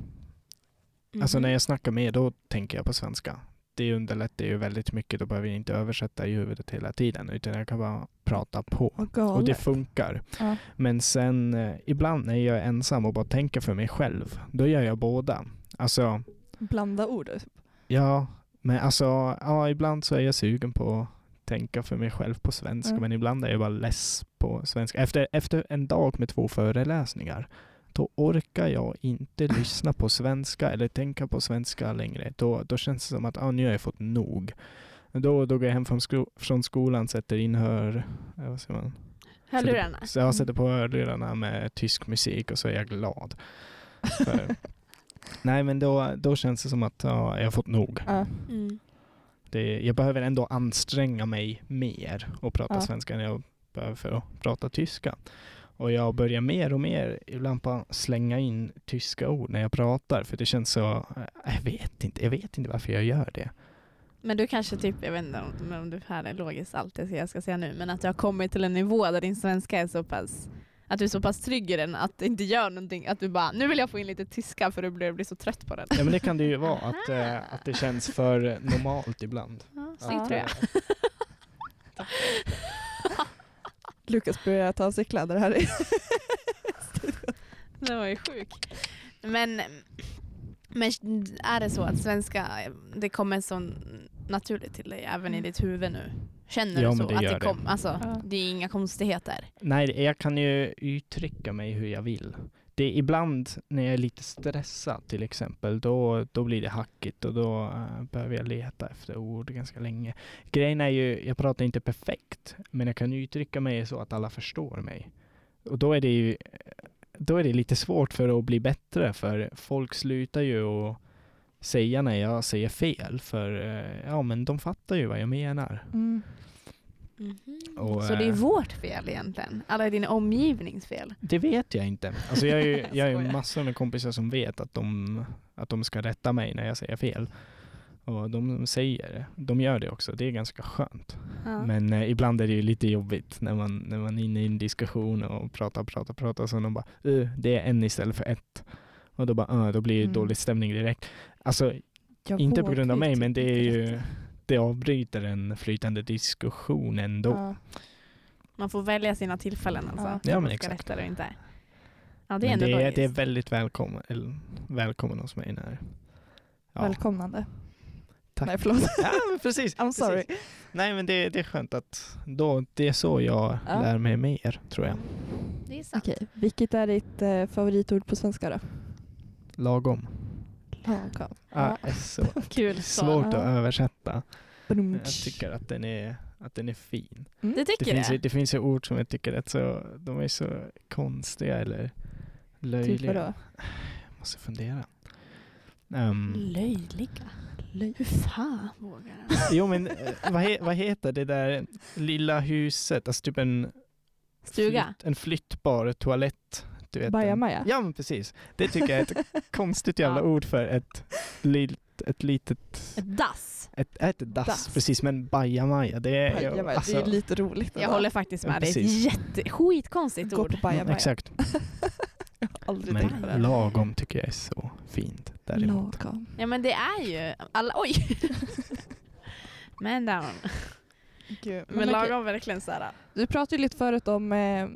Speaker 3: Alltså
Speaker 2: Mm.
Speaker 1: Mhm.
Speaker 3: när jag snackar med då tänker jag på svenska. Det underlättar ju väldigt mycket. Då behöver jag inte översätta i huvudet hela tiden utan jag kan bara prata på.
Speaker 1: Vad
Speaker 3: Och det
Speaker 1: galet.
Speaker 3: funkar.
Speaker 1: Ja.
Speaker 3: Men sen eh, ibland när jag är ensam och bara tänker för mig själv, då gör jag båda. Alltså,
Speaker 1: Blanda ord. typ.
Speaker 3: ja, men alltså, ja, ibland så är jag sugen på att tänka för mig själv på svenska,
Speaker 1: Mm.
Speaker 3: men ibland är jag bara less på svenska. Efter, efter en dag med två föreläsningar, då orkar jag inte lyssna på svenska eller tänka på svenska längre. Då, då känns det som att ah, nu har jag fått nog. Då, då går jag hem från, sko- från skolan, sätter in hör... eh, Vad säger man?
Speaker 2: Hörlurarna.
Speaker 3: Så jag sätter på hörlurarna med tysk musik och så är jag glad. För, nej men då, då känns det som att ja, jag har fått nog.
Speaker 1: Ja.
Speaker 2: Mm.
Speaker 3: Det, jag behöver ändå anstränga mig mer och prata
Speaker 1: Ja.
Speaker 3: svenska än jag behöver för att prata tyska. Och jag börjar mer och mer ibland bara slänga in tyska ord när jag pratar för det känns så, eh, jag vet inte, jag vet inte varför jag gör det.
Speaker 2: Men du kanske typ, jag vet inte om, om du här är logiskt allt det jag ska säga nu, men att du har kommit till en nivå där din svenska är så pass att du är så pass trygg i den att det inte gör någonting. Att du bara, nu vill jag få in lite tyska för du blir, blir så trött på den.
Speaker 3: Ja men det kan det ju vara, att, eh, att det känns för normalt ibland. eh,
Speaker 2: Ja,
Speaker 1: Ja.
Speaker 2: snygg tröja.
Speaker 1: Lukas börjar ta av sig kläder här.
Speaker 2: Den var ju sjuk. Men, men är det så att svenska, det kommer så naturligt till dig även i ditt huvud nu? Känner
Speaker 3: Ja,
Speaker 2: du så?
Speaker 3: men det
Speaker 2: att
Speaker 3: gör det.
Speaker 2: Kom, alltså,
Speaker 1: Ja.
Speaker 2: Det är inga konstigheter.
Speaker 3: Nej, jag kan ju uttrycka mig hur jag vill. Det är ibland när jag är lite stressad till exempel, då, då blir det hackigt och då eh, behöver jag leta efter ord ganska länge. Grejen är ju, jag pratar inte perfekt, men jag kan uttrycka mig så att alla förstår mig. Och då är det ju då är det lite svårt för att bli bättre, för folk slutar ju att säga när jag säger fel, för eh, ja men de fattar ju vad jag menar.
Speaker 1: Mm,
Speaker 3: Och,
Speaker 2: så det är
Speaker 3: eh,
Speaker 2: vårt fel egentligen? Alla i din omgivnings fel?
Speaker 3: Det vet jag inte. Alltså jag har ju, jag har ju
Speaker 2: skojar.
Speaker 3: massor med kompisar som vet att de, att de ska rätta mig när jag säger fel. Och de säger det. De gör det också. Det är ganska skönt.
Speaker 2: Ja.
Speaker 3: Men eh, ibland är det ju lite jobbigt när man, när man är inne i en diskussion och pratar, pratar, pratar. Så de bara, "Eh, det är en istället för ett. Och då bara, "Ah", då blir det
Speaker 1: Mm.
Speaker 3: dålig stämning direkt. Alltså inte på grund av mig, men det är ju, det avbryter en flytande diskussion ändå.
Speaker 1: Ja.
Speaker 2: Man får välja sina tillfällen alltså.
Speaker 1: Ja.
Speaker 3: Ja, men
Speaker 2: Man ska
Speaker 3: exakt.
Speaker 2: rätta eller inte. Ja, det är
Speaker 3: Men
Speaker 2: ändå
Speaker 3: det, är,
Speaker 2: logiskt.
Speaker 3: det är väldigt välkommen, eller, välkommen hos mig när... Ja,
Speaker 1: Välkomnande.
Speaker 3: tack.
Speaker 1: Nej förlåt.
Speaker 3: Ja, men precis.
Speaker 1: I'm
Speaker 3: precis.
Speaker 1: sorry.
Speaker 3: Nej men det, det är skönt att då, det är så jag
Speaker 1: Ja.
Speaker 3: lär mig mer tror jag.
Speaker 4: Det är sant.
Speaker 1: Okej, vilket är ditt eh, favoritord på svenska då?
Speaker 3: Lagom.
Speaker 1: Lagom.
Speaker 3: Ah, så.
Speaker 4: Kul svar.
Speaker 3: Svårt att
Speaker 1: Ja.
Speaker 3: översätta.
Speaker 1: Badum,
Speaker 3: Jag tycker att den är, att den är fin.
Speaker 1: Mm.
Speaker 4: Du
Speaker 3: Det
Speaker 4: tycker det?
Speaker 3: finns, ju- det finns ju ord som jag tycker att så, de är så konstiga eller
Speaker 1: Typ
Speaker 3: löjliga.
Speaker 1: vadå?
Speaker 3: jag måste fundera.
Speaker 2: Mm.
Speaker 3: Ehm,
Speaker 4: Löjliga. Löj. Hur fan vågar han?
Speaker 3: jo men eh, vad, he, vad heter det där lilla huset? Alltså typ en,
Speaker 4: Stuga?
Speaker 3: flytt, en flyttbar toalett. Du vet, en-
Speaker 1: Bajamaja?
Speaker 3: Ja men precis. Det tycker jag är ett konstigt jävla
Speaker 4: Ja.
Speaker 3: ord för ett, lilt, ett litet,
Speaker 4: Ett dass?
Speaker 3: ett, ett dass,
Speaker 1: dass.
Speaker 3: precis men bajamaja det är ju
Speaker 1: Bajamaja,
Speaker 3: alltså,
Speaker 1: det är lite roligt.
Speaker 4: Jag håller faktiskt med. Det är
Speaker 3: Precis.
Speaker 4: ett jätte, skitkonstigt
Speaker 1: Gå på
Speaker 4: ord.
Speaker 1: bajamaja.
Speaker 3: Exakt,
Speaker 1: Aldrig tänkt på
Speaker 3: men
Speaker 1: det.
Speaker 3: lagom tycker jag är så fint. Däremot.
Speaker 1: Lagom.
Speaker 4: Ja men det är ju alla, oj! Man down.
Speaker 1: Gud,
Speaker 4: Men
Speaker 1: men okej.
Speaker 4: lagom verkligen såhär.
Speaker 1: Du pratade ju lite förut om eh,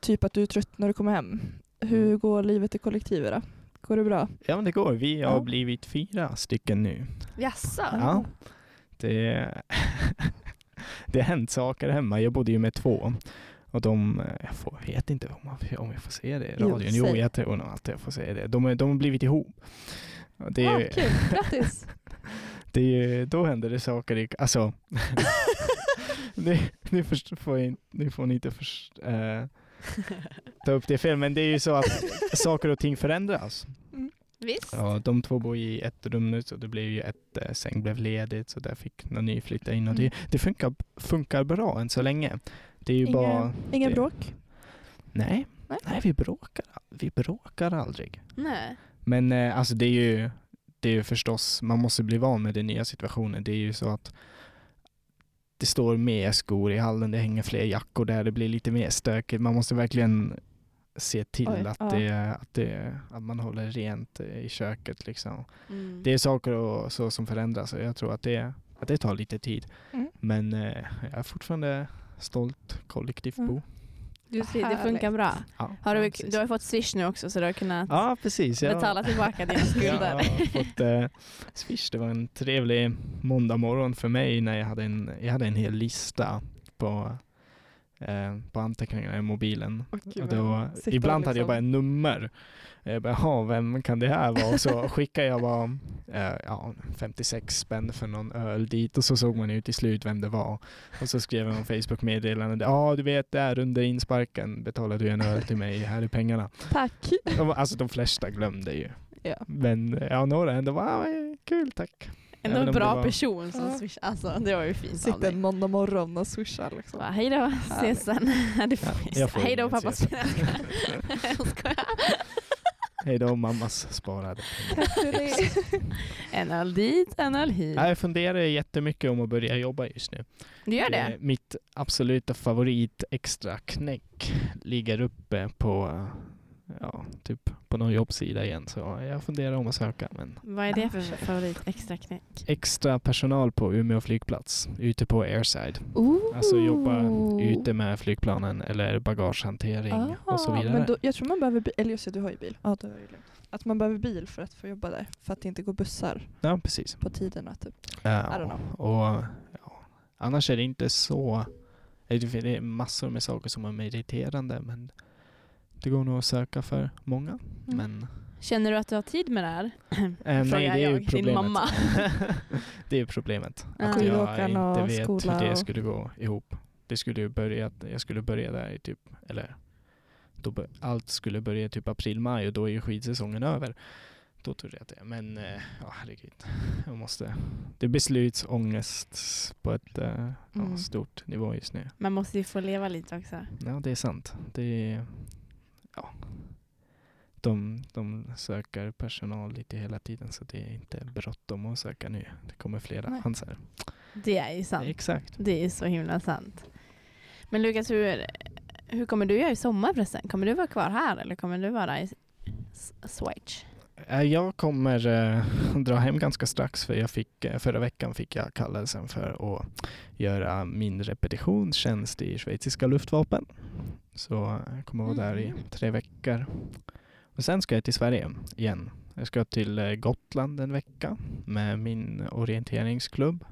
Speaker 1: typ att du är trött när du kommer hem.
Speaker 3: Mm.
Speaker 1: Hur går livet i kollektivet då? Går det bra?
Speaker 3: Ja men det går, vi har
Speaker 1: Ja.
Speaker 3: blivit fyra stycken nu.
Speaker 4: Jaså?
Speaker 3: Ja. Det, det har hänt saker hemma, jag bodde ju med två. Och de, eh, jag får, vet inte om, man, om jag får säga det i
Speaker 1: Jo,
Speaker 3: radion. Jo,
Speaker 1: säg.
Speaker 3: jag tror nog att jag får säga det. De, är- de har blivit ihop. Och Det,
Speaker 1: Ah,
Speaker 3: är-
Speaker 1: kul, grattis!
Speaker 3: det, är- då händer det saker i, alltså, nu, nu, först, får jag, in- nu får ni inte först, eh, ta upp det fel, men det är ju så att saker och ting förändras.
Speaker 4: Visst?
Speaker 3: Ja, de två bor i ett rum nu så det blev ju ett eh, säng blev ledigt så där fick någon ny flytta in och det, det funkar, funkar bra än så länge. Det är ju bara...
Speaker 1: Mm. Inga, inga
Speaker 3: det-
Speaker 1: bråk?
Speaker 3: Nej,
Speaker 1: Nej.
Speaker 3: nej vi, bråkar, al- vi bråkar aldrig.
Speaker 4: Nej.
Speaker 3: Men eh, alltså det är ju det är ju förstås, man måste bli van med den nya situationen. Det är ju så att det står mer skor i hallen, det hänger fler jackor där, det blir lite mer stökigt. Man måste verkligen se till
Speaker 1: Oj,
Speaker 3: att,
Speaker 1: ja.
Speaker 3: det, att, det, att man håller rent eh, i köket liksom.
Speaker 4: Mm.
Speaker 3: Det är saker och så som förändras och jag tror att det, att det tar lite tid.
Speaker 1: Mm.
Speaker 3: Men eh, jag är fortfarande stolt kollektivbo.
Speaker 4: Du ser, det funkar
Speaker 1: Härligt.
Speaker 4: bra.
Speaker 3: Ja,
Speaker 4: Mm. Har
Speaker 3: ja,
Speaker 4: du,
Speaker 3: precis.
Speaker 4: du har ju fått swish nu också så du har kunnat
Speaker 3: Ja, precis. Jag,
Speaker 4: betala tillbaka dina
Speaker 3: Jag
Speaker 4: skulder.
Speaker 3: har fått eh, Swish. Det var en trevlig måndag morgon för mig när jag hade en, jag hade en hel lista på, eh, på anteckningarna i mobilen. Och då,
Speaker 1: Sitta och
Speaker 3: ibland hade jag
Speaker 1: liksom-
Speaker 3: bara ett nummer. Jag bara, "Jaha, vem kan det här vara? Och så skickade jag bara eh, ja, 56 spänn för någon öl dit och så såg man ju till slut vem det var. Och så skrev jag en Facebook-meddelande. Ja, du vet där under insparken betalade du en öl till mig. Här är pengarna.
Speaker 1: Tack!
Speaker 3: Och, Alltså de flesta glömde ju.
Speaker 1: Ja.
Speaker 3: Men eh, ja, några ändå bara, "Ah, eh, kul tack.
Speaker 4: Ändå
Speaker 3: Även
Speaker 4: en
Speaker 3: om det
Speaker 4: bra
Speaker 3: var-
Speaker 4: person
Speaker 1: Ja.
Speaker 4: som swishar. Alltså det var ju fint av
Speaker 1: Sitta en
Speaker 4: dig.
Speaker 1: måndag morgon och swisha liksom.
Speaker 4: Bara, Hej då, ses sen. Du får
Speaker 3: Ja,
Speaker 4: ju-
Speaker 3: jag får
Speaker 4: Hej då
Speaker 3: inget
Speaker 4: pappa.
Speaker 3: ses.
Speaker 4: Jag skojar.
Speaker 3: Hej då mammas sparade.
Speaker 1: Tack för det!
Speaker 4: En öl dit, en öl hit.
Speaker 3: Ja, Jag funderar jättemycket om att börja jobba just nu.
Speaker 4: Du gör det?
Speaker 3: Eh, Mitt absoluta favorit extra knäck ligger uppe på, eh, ja, typ på någon jobbsida igen. Så jag funderar om att söka. Men
Speaker 4: Vad är det för favorit extra knäck?
Speaker 3: extra personal på Umeå flygplats, ute på airside.
Speaker 1: Ooh.
Speaker 3: Alltså jobba ute med flygplanen eller bagagehantering och så
Speaker 1: Ah,
Speaker 3: vidare.
Speaker 1: Men då, jag tror man behöver bil, eller just det, du har ju bil. Ja, det är ju lugnt. Att man behöver bil för att få jobba där. För att det inte går bussar
Speaker 3: Ja, precis.
Speaker 1: på tiderna typ.
Speaker 3: Ja,
Speaker 1: I don't know.
Speaker 3: och, ja. Annars är det inte så... Det fin- det är massor med saker som är irriterande men det går nog att söka för många.
Speaker 1: Mm.
Speaker 3: Men,
Speaker 4: Känner du att du har tid med det här?
Speaker 3: eh, nej,
Speaker 4: Frågar
Speaker 3: det är
Speaker 4: jag,
Speaker 3: ju
Speaker 4: din
Speaker 3: problemet.
Speaker 4: mamma.
Speaker 3: det är ju problemet.
Speaker 4: Ja.
Speaker 3: Att jag
Speaker 1: Skidåkaren och
Speaker 3: inte vet
Speaker 1: skola
Speaker 3: hur det
Speaker 1: och-
Speaker 3: skulle gå ihop. Det skulle ju börja, jag skulle börja där i typ, eller då, bör- allt skulle börja i typ april, maj och då är ju skidsäsongen över. Då tror jag att det är. Men eh, ja, herregud. Jag måste. Det är beslutsångest på ett eh, ja,
Speaker 1: Mm.
Speaker 3: stort nivå just nu.
Speaker 4: Man måste ju få leva lite också.
Speaker 3: Ja, det är sant. Det är, ja. De, de söker personal lite hela tiden så det är inte bråttom att söka nu. Det kommer flera
Speaker 1: Nej.
Speaker 3: chanser.
Speaker 4: Det är ju sant.
Speaker 3: Exakt.
Speaker 4: Det är ju så himla sant. Men Lukas, hur, hur kommer du göra i sommar förresten? Kommer du vara kvar här eller kommer du vara i S- Schweiz?
Speaker 3: Eh, Jag kommer eh, dra hem ganska strax för jag fick, eh, förra veckan fick jag kallelsen för att göra min repetitionstjänst i schweiziska luftvapen. Så eh, jag kommer vara där i
Speaker 4: Mhm.
Speaker 3: tre veckor. Och sen ska jag till Sverige igen. Jag ska till eh, Gotland en vecka med min orienteringsklubb.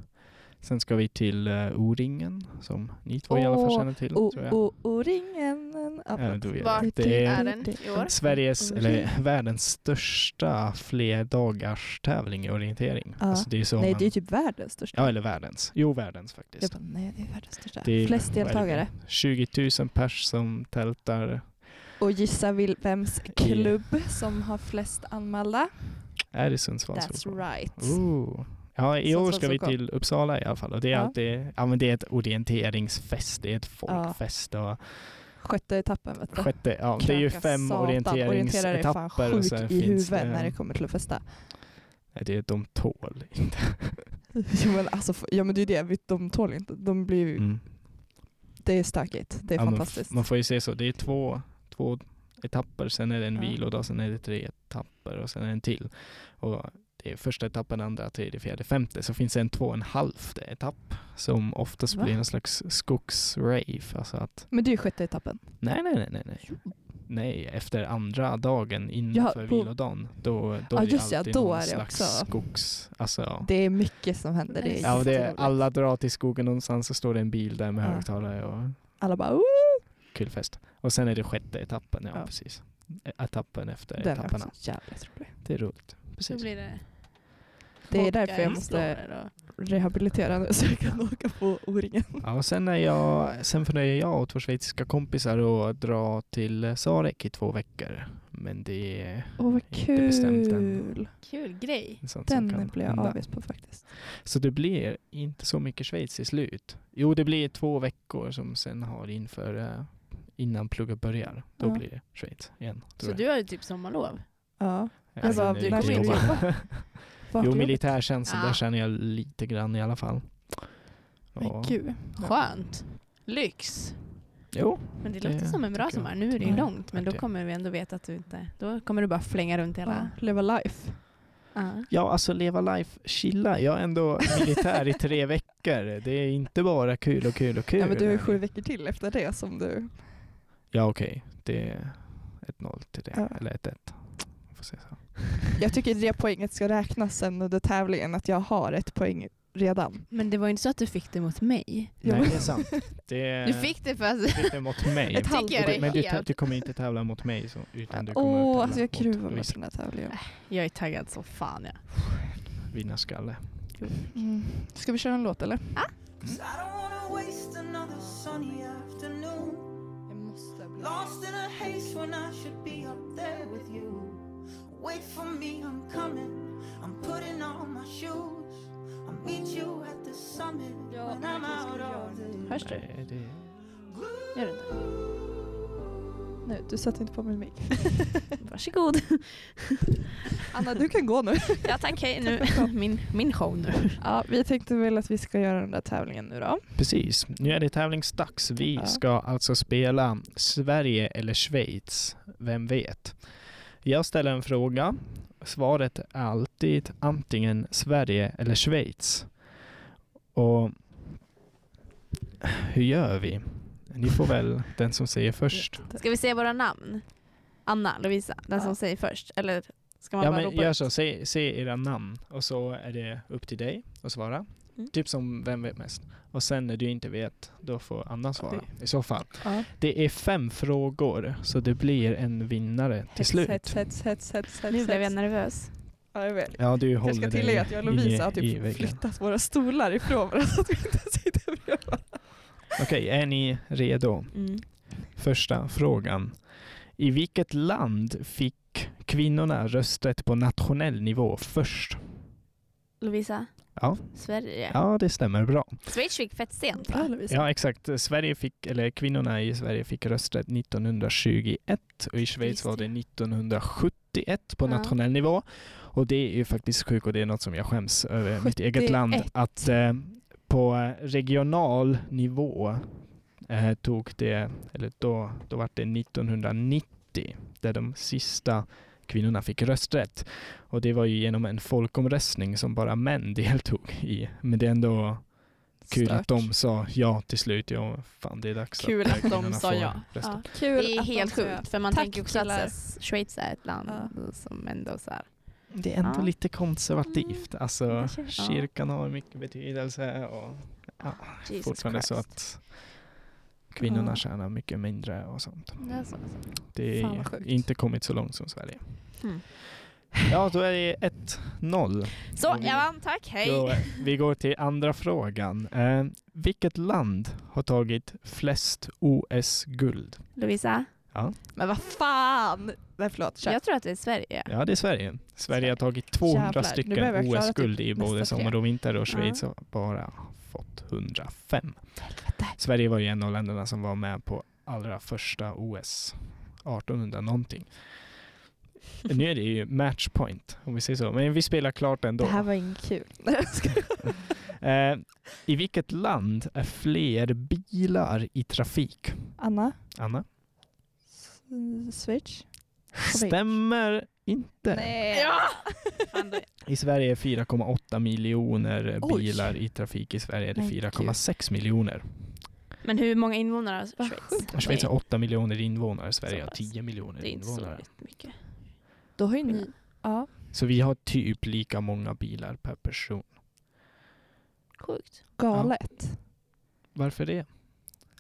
Speaker 3: Sen ska vi till eh, O-ringen som ni två i alla fall
Speaker 1: Åh,
Speaker 3: känner till. tror jag.
Speaker 1: O-O-O-ringen. den. Ja,
Speaker 3: Ja, du vet.
Speaker 1: Vart
Speaker 3: det
Speaker 1: är
Speaker 3: är
Speaker 1: det?
Speaker 3: Sveriges,
Speaker 1: Mm.
Speaker 3: eller världens största flerdagars tävling i orientering.
Speaker 1: Ja.
Speaker 3: Alltså det är så
Speaker 1: nej,
Speaker 3: man,
Speaker 1: det är typ världens största.
Speaker 3: Ja, eller världens. Jo, världens
Speaker 1: Jag
Speaker 3: faktiskt.
Speaker 1: bara, nej, det är världens största.
Speaker 3: Det är-
Speaker 1: Flest deltagare.
Speaker 3: 20 000 pers som tältar.
Speaker 1: Och gissa vil- vems klubb som har flest anmälda.
Speaker 3: Är det Sundsvalls
Speaker 1: That's
Speaker 3: fotboll?
Speaker 1: right.
Speaker 3: Ooh. Ja, i år
Speaker 1: Sundsvalls
Speaker 3: ska vi
Speaker 1: fotboll.
Speaker 3: till Uppsala i alla fall. Och det är,
Speaker 1: Ja.
Speaker 3: alltid, ja, men det är ett orienteringsfest, det är ett folkfest. Och
Speaker 1: Sjätte etappen vet du.
Speaker 3: sjätte, ja, det är ju
Speaker 1: Kröka
Speaker 3: fem
Speaker 1: satan. Orienterare är fan
Speaker 3: orienteringsetapper. och
Speaker 1: sjuk
Speaker 3: sen
Speaker 1: i
Speaker 3: finns
Speaker 1: huvudet när det
Speaker 3: det,
Speaker 1: kommer till att festa.
Speaker 3: Nej, det är de tål inte.
Speaker 1: Jo, men alltså, f- ja men det är det, Vi- de tål inte. De blir, ju-
Speaker 3: Mm.
Speaker 1: Det är stökigt, det är
Speaker 3: Ja, men
Speaker 1: fantastiskt.
Speaker 3: Man får ju se så, det är två, två etapper, sen är det en
Speaker 1: Ja.
Speaker 3: vilodag, sen är det tre etapper och sen är det en till. Och det är första etappen, andra, tredje, fjärde, femte. Så finns det en två och en halv etapp som oftast
Speaker 1: Va?
Speaker 3: blir någon slags skogsrave. Alltså att,
Speaker 1: Men det är ju sjätte etappen.
Speaker 3: nej, nej, nej, nej, nej. Nej, efter andra dagen
Speaker 1: Ja,
Speaker 3: innanför
Speaker 1: på-
Speaker 3: vilodagen, då, då
Speaker 1: Ja,
Speaker 3: är det
Speaker 1: just ja,
Speaker 3: alltid
Speaker 1: då
Speaker 3: någon
Speaker 1: är det
Speaker 3: slags
Speaker 1: också-
Speaker 3: skogs... Alltså,
Speaker 1: Det är mycket som händer. Det är
Speaker 3: ja, och det är,
Speaker 1: jätteroligt.
Speaker 3: alla drar till skogen någonstans så står det en bil där med
Speaker 1: Ja.
Speaker 3: högtalare och
Speaker 1: alla bara "Ooh!"
Speaker 3: kul fest. Och sen är det sjätte etappen, ja,
Speaker 1: Ja.
Speaker 3: precis. Etappen efter
Speaker 1: Den är
Speaker 3: etapperna.
Speaker 1: också jävligt rolig.
Speaker 3: Det är roligt.
Speaker 2: Så
Speaker 3: Precis.
Speaker 2: blir det
Speaker 1: Det är
Speaker 2: Åka
Speaker 1: därför jag
Speaker 2: i
Speaker 1: måste
Speaker 2: slalom och-
Speaker 1: rehabilitera nu så jag kan åka på O-ringen.
Speaker 3: Ja, och sen, är jag, sen funderar jag och två schweiziska kompisar att dra till Sarek i två veckor. Men det är
Speaker 1: Åh vad
Speaker 3: Inte bestämt än.
Speaker 1: kul!
Speaker 2: Kul grej.
Speaker 3: sånt som
Speaker 1: Den
Speaker 3: kan
Speaker 1: blev jag
Speaker 3: hända.
Speaker 1: avis på faktiskt.
Speaker 3: Så det blir inte så mycket Schweiz i slut. Jo, det blir två veckor som sen har inför eh, innan plugget börjar. Då
Speaker 1: Ja.
Speaker 3: blir det Schweiz igen. tror
Speaker 2: Så
Speaker 3: jag.
Speaker 2: du har ju typ sommarlov.
Speaker 1: Ja.
Speaker 3: Jag
Speaker 2: alltså,
Speaker 3: hinner
Speaker 2: du
Speaker 3: inte
Speaker 1: kommer ju
Speaker 3: jobba.
Speaker 1: jobba. Vart
Speaker 3: Jo,
Speaker 1: jobbigt.
Speaker 3: militärtjänsten,
Speaker 2: Ah.
Speaker 3: där känner jag lite grann i alla fall.
Speaker 2: Men
Speaker 3: Ja.
Speaker 2: gud, skönt. Lyx.
Speaker 3: Jo,
Speaker 2: Men det
Speaker 3: Det
Speaker 2: låter som en bra
Speaker 3: tycker jag.
Speaker 2: sommar. Nu är det ju
Speaker 3: Ja,
Speaker 2: långt men då
Speaker 3: verkligen.
Speaker 2: kommer vi ändå veta att du inte... Då kommer du bara flänga runt
Speaker 1: ja,
Speaker 2: hela...
Speaker 1: leva life.
Speaker 2: Ja.
Speaker 3: Ja, alltså leva life, chilla. Jag är ändå militär i tre veckor. Det är inte bara kul och kul och kul.
Speaker 1: Ja, men du har ju sju veckor till efter det som du...
Speaker 3: Ja, okej. Det är ett noll till det.
Speaker 1: Ja.
Speaker 3: Eller ett ett. Jag Får se så.
Speaker 1: Jag tycker det poänget ska räknas sen under tävlingen, att jag har ett poäng redan.
Speaker 2: Men det var ju inte så att du fick det mot mig.
Speaker 1: Jo.
Speaker 3: Nej, det är sant. Det,
Speaker 2: Du fick det för att...
Speaker 3: du fick det mot mig.
Speaker 2: Jag tycker
Speaker 3: Och du-
Speaker 2: det är
Speaker 3: Men du, tä-
Speaker 2: helt-
Speaker 3: du kommer inte tävla mot mig. Så, utan du kommer
Speaker 1: Åh,
Speaker 3: tävla
Speaker 1: alltså jag
Speaker 3: mot
Speaker 1: kruvar mig
Speaker 3: Louise
Speaker 1: på den här tävlingen.
Speaker 3: typ-
Speaker 2: Jag är taggad så fan ja.
Speaker 3: Vinnarskalle.
Speaker 1: Mm. Ska vi köra en låt eller?
Speaker 5: Cause I don't wanna waste another sunny afternoon.
Speaker 1: Jag måste bli...
Speaker 5: Lost in a haze when I should be up there with you. Wait for me, I'm coming. I'm putting on my shoes. I'll meet you at the summit
Speaker 1: Ja,
Speaker 5: when I'm
Speaker 1: verkligen ska
Speaker 5: out
Speaker 1: vi göra
Speaker 2: Hörs du?
Speaker 5: of the
Speaker 3: Nej, det...
Speaker 2: Gör du inte?
Speaker 1: Nej, du sätter inte på min mick.
Speaker 2: Varsågod.
Speaker 1: Anna, du kan gå nu.
Speaker 2: Ja tack, hej nu. Min, min show nu.
Speaker 1: ja, vi tänkte väl att vi ska göra den där tävlingen nu då.
Speaker 3: Precis, nu är det tävlingsdags. Vi
Speaker 1: Ja.
Speaker 3: ska alltså spela Sverige eller Schweiz, vem vet? Jag ställer en fråga. Svaret är alltid antingen Sverige eller Schweiz. Och hur gör vi? Ni får väl den som säger först.
Speaker 2: Ska vi säga våra namn? Anna, Lovisa, den som
Speaker 1: Ja.
Speaker 2: säger först. Eller ska man
Speaker 3: Ja,
Speaker 2: bara
Speaker 3: men
Speaker 2: ropa
Speaker 3: gör
Speaker 2: ut?
Speaker 3: så, säg, säg era namn och så är det upp till dig att svara.
Speaker 2: Mm.
Speaker 3: Typ som Vem vet mest? Och sen när du inte vet, då får Anna svara i så fall.
Speaker 1: Ja.
Speaker 3: Det är fem frågor, så det blir en vinnare till slut.
Speaker 1: Hets, hets, hets, hets, hets,
Speaker 2: Nu
Speaker 1: hets.
Speaker 2: blev jag nervös.
Speaker 1: Ja, jag vet.
Speaker 3: Ja, du håller
Speaker 1: Jag ska tillägga att jag och Lovisa har
Speaker 3: i- i
Speaker 1: typ
Speaker 3: väggen.
Speaker 1: flyttat våra stolar ifrån varandra så att vi inte sitter bredvid varandra.
Speaker 3: Okej, är ni redo?
Speaker 1: Mm.
Speaker 3: Första frågan. I vilket land fick kvinnorna rösträtt på nationell nivå först?
Speaker 2: Lovisa,
Speaker 3: Ja,
Speaker 2: Sverige.
Speaker 3: ja det stämmer bra.
Speaker 2: Schweiz fick fett sent
Speaker 1: Ja,
Speaker 2: va?
Speaker 1: Lovisa.
Speaker 3: Ja, exakt. Sverige fick, eller kvinnorna i Sverige fick rösträtt 1921 och i Schweiz
Speaker 2: Just
Speaker 3: var det 1971 på
Speaker 2: Ja.
Speaker 3: nationell nivå. Och det är ju faktiskt sjukt och det är något som jag skäms över mitt eget land.
Speaker 1: 71.
Speaker 3: Att eh, på eh, regional nivå eh, tog det, eller då, då var det 1990 där de sista kvinnorna fick rösträtt. Och det var ju genom en folkomröstning som bara män deltog i. Men det är ändå Kul att de sa ja till slut. Ja, fan det är dags
Speaker 2: Kul
Speaker 3: här
Speaker 2: att de
Speaker 3: kvinnorna
Speaker 2: sa
Speaker 3: får
Speaker 2: ja.
Speaker 3: rösta.
Speaker 1: Kul
Speaker 2: Det är
Speaker 1: att de
Speaker 2: helt
Speaker 1: sa ja.
Speaker 2: sjukt för man
Speaker 1: Tack,
Speaker 2: tänker också att så här,
Speaker 1: killar.
Speaker 2: Schweiz är ett land som ändå så här,
Speaker 3: Det är ändå
Speaker 2: Ja.
Speaker 3: lite konservativt. Alltså,
Speaker 2: Mm, kanske- ja.
Speaker 3: kyrkan har mycket betydelse och
Speaker 2: Jesus
Speaker 3: fortfarande så
Speaker 2: Christ.
Speaker 3: att Kvinnorna
Speaker 1: Ja.
Speaker 3: tjänar mycket mindre och sånt.
Speaker 2: Det är så.
Speaker 3: Det
Speaker 1: Fan, vad
Speaker 3: är
Speaker 1: sjukt.
Speaker 3: inte kommit så långt som Sverige.
Speaker 2: Mm.
Speaker 3: Ja, då är det 1-0.
Speaker 2: Så, jag vann. Tack, hej!
Speaker 3: Då, eh, vi går till andra frågan. Eh, vilket land har tagit flest OS-guld?
Speaker 4: Lovisa,
Speaker 1: Men vad fan! Nej förlåt, kör.
Speaker 4: jag tror att det är Sverige.
Speaker 3: Ja, det är Sverige. Sverige har tagit 200
Speaker 1: Jävlar, nu
Speaker 3: stycken
Speaker 1: behöver jag klara typ
Speaker 3: OS-guld i
Speaker 1: nästa
Speaker 3: både
Speaker 1: tre.
Speaker 3: sommar och vinter och Schweiz har bara fått 105. Sverige var ju en av länderna som var med på allra första OS 1800 någonting. Nu är det ju matchpoint om vi säger så, men vi spelar klart ändå.
Speaker 1: Det här var inget kul. Nej, jag skojar.
Speaker 3: Eh, I vilket land är fler bilar i trafik?
Speaker 1: Anna,
Speaker 3: Anna?
Speaker 1: S- switch.
Speaker 3: Stämmer inte.
Speaker 1: Nej.
Speaker 2: Ja!
Speaker 3: I Sverige är 4,8 miljoner
Speaker 1: Oj.
Speaker 3: bilar i trafik. I Sverige är det
Speaker 1: Men
Speaker 3: 4,6 miljoner.
Speaker 4: Men hur många invånare har Schweiz?
Speaker 3: Schweiz har 8 miljoner invånare. Sverige
Speaker 4: Så
Speaker 3: har
Speaker 4: pass.
Speaker 3: 10 miljoner
Speaker 4: Det är inte så
Speaker 3: invånare.
Speaker 4: mycket.
Speaker 1: Då har ju ni... Ja.
Speaker 3: Så vi har typ lika många bilar per person.
Speaker 4: Sjukt.
Speaker 1: Galet.
Speaker 3: Varför det?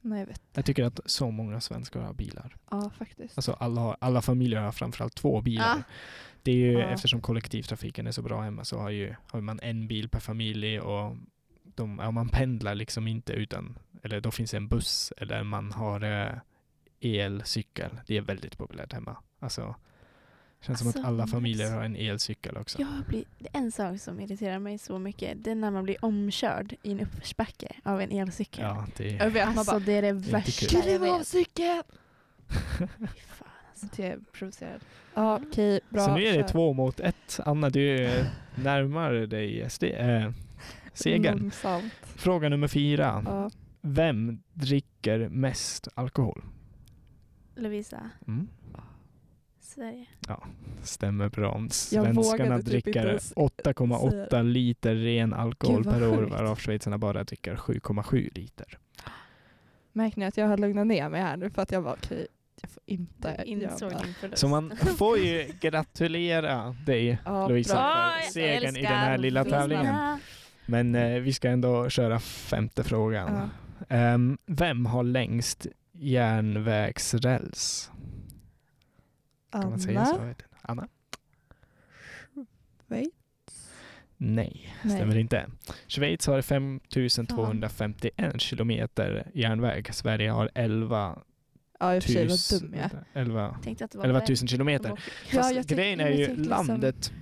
Speaker 1: Nej jag vet.
Speaker 3: Jag tycker att så många svenskar har bilar.
Speaker 1: Ja faktiskt.
Speaker 3: Alltså alla, har- alla familjer har framförallt två bilar.
Speaker 4: Ah.
Speaker 2: Ja.
Speaker 3: Det är ju
Speaker 1: Ja.
Speaker 3: eftersom kollektivtrafiken är så bra hemma så har, ju, har man en bil per familj och de, ja, man pendlar liksom inte utan, eller då finns en buss eller man har eh, elcykel. Det är väldigt populärt hemma. Alltså, känns som att
Speaker 4: Alltså,
Speaker 3: alla
Speaker 4: nice.
Speaker 3: familjer har en elcykel också.
Speaker 4: Jag blir, det är en sak som irriterar mig så mycket. Det är när man blir omkörd i en uppförsbacke av en elcykel.
Speaker 3: Ja, det
Speaker 1: Jag vet, man
Speaker 4: Alltså
Speaker 1: bara...
Speaker 4: det är det
Speaker 3: kul.
Speaker 4: värsta jag
Speaker 1: Skriv av
Speaker 4: vet.
Speaker 1: cykeln!
Speaker 4: Fy fan. alltså.
Speaker 1: Det är provocerad. Ja okej, bra.
Speaker 3: så nu är det
Speaker 1: kör.
Speaker 3: två mot ett. Anna, du eh, närmar dig SD, eh, segern. Mm.
Speaker 1: Långsamt.
Speaker 3: Fråga nummer fyra.
Speaker 1: Mm. Ja.
Speaker 3: Vem dricker mest alkohol?
Speaker 4: Lovisa,
Speaker 3: Mm.
Speaker 4: Sverige.
Speaker 3: Stämmer bra.
Speaker 1: vågade
Speaker 3: Svenskarna
Speaker 1: typ inte
Speaker 3: dricker
Speaker 1: ens
Speaker 3: 8,8 liter ren alkohol
Speaker 1: Gud, vad
Speaker 3: per år
Speaker 1: sjukt.
Speaker 3: varav schweizarna bara dricker 7,7 liter.
Speaker 1: Märker ni att jag har lugnat ner mig här nu för att jag var okej, jag får inte
Speaker 4: Insåg
Speaker 1: göra.
Speaker 4: din förlust.
Speaker 3: Så man får ju gratulera dig
Speaker 1: Ja,
Speaker 3: Lovisa
Speaker 1: bra.
Speaker 3: för
Speaker 2: Oj,
Speaker 3: segern i den
Speaker 2: älskar
Speaker 3: här lilla
Speaker 2: Lovisa.
Speaker 3: tävlingen. Men eh, vi ska ändå köra femte frågan.
Speaker 1: Mm. Ja.
Speaker 3: Ehm, vem har längst järnvägsräls? Kan man säga så? Jag
Speaker 1: Anna,
Speaker 3: vet inte. Anna?
Speaker 1: Schweiz?
Speaker 3: Nej,
Speaker 1: Nej.
Speaker 3: stämmer inte. Schweiz har 5251 kilometer järnväg. Sverige har 11
Speaker 1: Ja i och för sig, vad
Speaker 3: tus-
Speaker 1: dum jag är.
Speaker 3: 11,
Speaker 4: tänkte att det var
Speaker 3: 11
Speaker 4: Sverige.
Speaker 3: 000 kilometer.
Speaker 1: Ja,
Speaker 3: Fast
Speaker 1: jag tänkte-
Speaker 3: grejen är
Speaker 1: jag
Speaker 3: ju
Speaker 1: tänkte liksom-
Speaker 3: landet,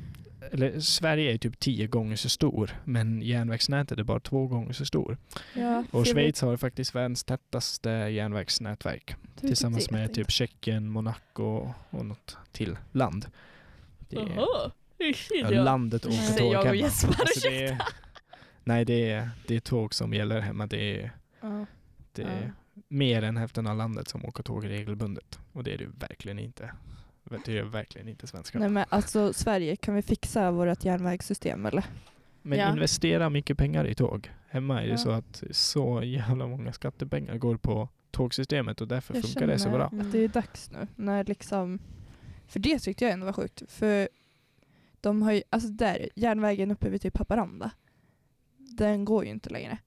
Speaker 3: eller Sverige är typ tio gånger så stor, men järnvägsnätet är bara två gånger så stor.
Speaker 1: Ja,
Speaker 3: Och
Speaker 1: så jag vet
Speaker 3: Schweiz har faktiskt världens tätaste järnvägsnätverk
Speaker 1: inte riktigt
Speaker 3: tillsammans
Speaker 1: det,
Speaker 3: med
Speaker 1: tänkte
Speaker 3: typ Tjeckien, Monaco och något till land. Det är
Speaker 2: Jaha, det
Speaker 3: ja,
Speaker 2: ser jag.
Speaker 3: landet åker
Speaker 2: Säger
Speaker 3: tåg
Speaker 2: jag och
Speaker 3: hemma. Alltså,
Speaker 2: Jesper,
Speaker 3: det är, nej, det är, det är tåg som gäller hemma. Det är,
Speaker 1: Ja.
Speaker 3: typ, det är
Speaker 1: Ja.
Speaker 3: mer än hälften av landet som åker tåg regelbundet. Och det är det verkligen inte. Det är verkligen inte svenskar.
Speaker 1: Nej men alltså Sverige, kan vi fixa vårt järnvägssystem eller?
Speaker 3: Men
Speaker 4: Ja.
Speaker 3: investera mycket pengar i tåg. Hemma är det
Speaker 1: Ja.
Speaker 3: så att så jävla många skattepengar går på tågsystemet och därför
Speaker 1: Jag
Speaker 3: funkar det så
Speaker 1: känner
Speaker 3: bra.
Speaker 1: Att det är dags nu när liksom, för det tyckte jag ändå var sjukt. För de har ju, alltså där, järnvägen uppe vid typ Haparanda, den går ju inte längre.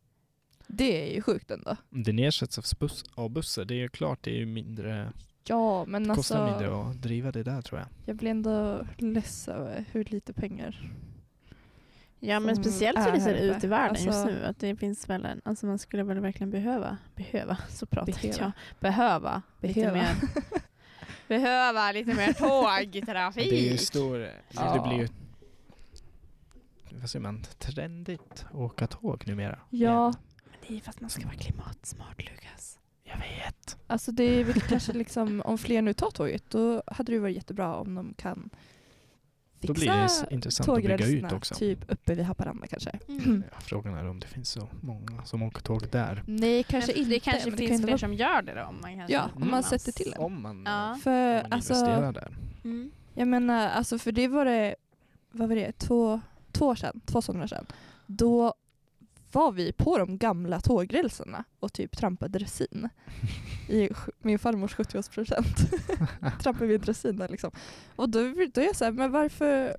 Speaker 1: Det är ju sjukt ändå.
Speaker 3: Den ersätts av, buss, av bussar. Det är ju klart, det är ju mindre,
Speaker 1: Ja men
Speaker 3: det kostar
Speaker 1: alltså,
Speaker 3: mindre att driva det där tror jag.
Speaker 1: jag blir ändå less över hur lite pengar.
Speaker 4: Ja men
Speaker 1: som
Speaker 4: speciellt hur
Speaker 1: är
Speaker 4: det
Speaker 1: här
Speaker 4: ser
Speaker 1: uppe.
Speaker 4: ut i världen just
Speaker 1: Alltså-
Speaker 4: nu. Att det finns väl en, alltså man skulle väl verkligen behöva, behöva, så pratar
Speaker 1: Behöva.
Speaker 4: jag, behöva, lite
Speaker 1: Behöva.
Speaker 4: mer, behöva lite mer tågtrafik.
Speaker 3: Det är ju stor,
Speaker 1: Ja.
Speaker 3: det blir ju vad säger man, trendigt att åka tåg numera.
Speaker 1: Ja,
Speaker 3: igen.
Speaker 4: Det är för att man ska vara klimatsmart Lukas.
Speaker 3: Jag vet.
Speaker 1: alltså det är väl kanske liksom, om fler nu tar tåget då hade det ju varit jättebra om de kan fixa
Speaker 3: Då blir det s- intressant att bygga ut
Speaker 1: tågrälserna,
Speaker 3: också.
Speaker 1: typ uppe vid Haparanda kanske.
Speaker 2: Mm.
Speaker 3: Ja, frågan är om det finns så många som åker tåg där.
Speaker 1: Nej, kanske
Speaker 4: men,
Speaker 1: inte.
Speaker 4: det kanske
Speaker 1: men
Speaker 4: finns
Speaker 1: kan ju
Speaker 4: fler
Speaker 1: vara-
Speaker 4: som gör det då. Om man kanske
Speaker 1: Ja, om man sätter till det.
Speaker 3: Om man,
Speaker 4: Ja.
Speaker 1: För,
Speaker 3: om man investerar
Speaker 1: alltså,
Speaker 3: där.
Speaker 4: Mm.
Speaker 1: jag menar, alltså, för det var det, vad var det, två, två år sedan, två somrar sedan. Då var vi på de gamla tågrälserna och typ trampade resin. I sj- min farmors 70-årspresent trampade vi dressin där liksom. Och då, då är jag såhär, men varför?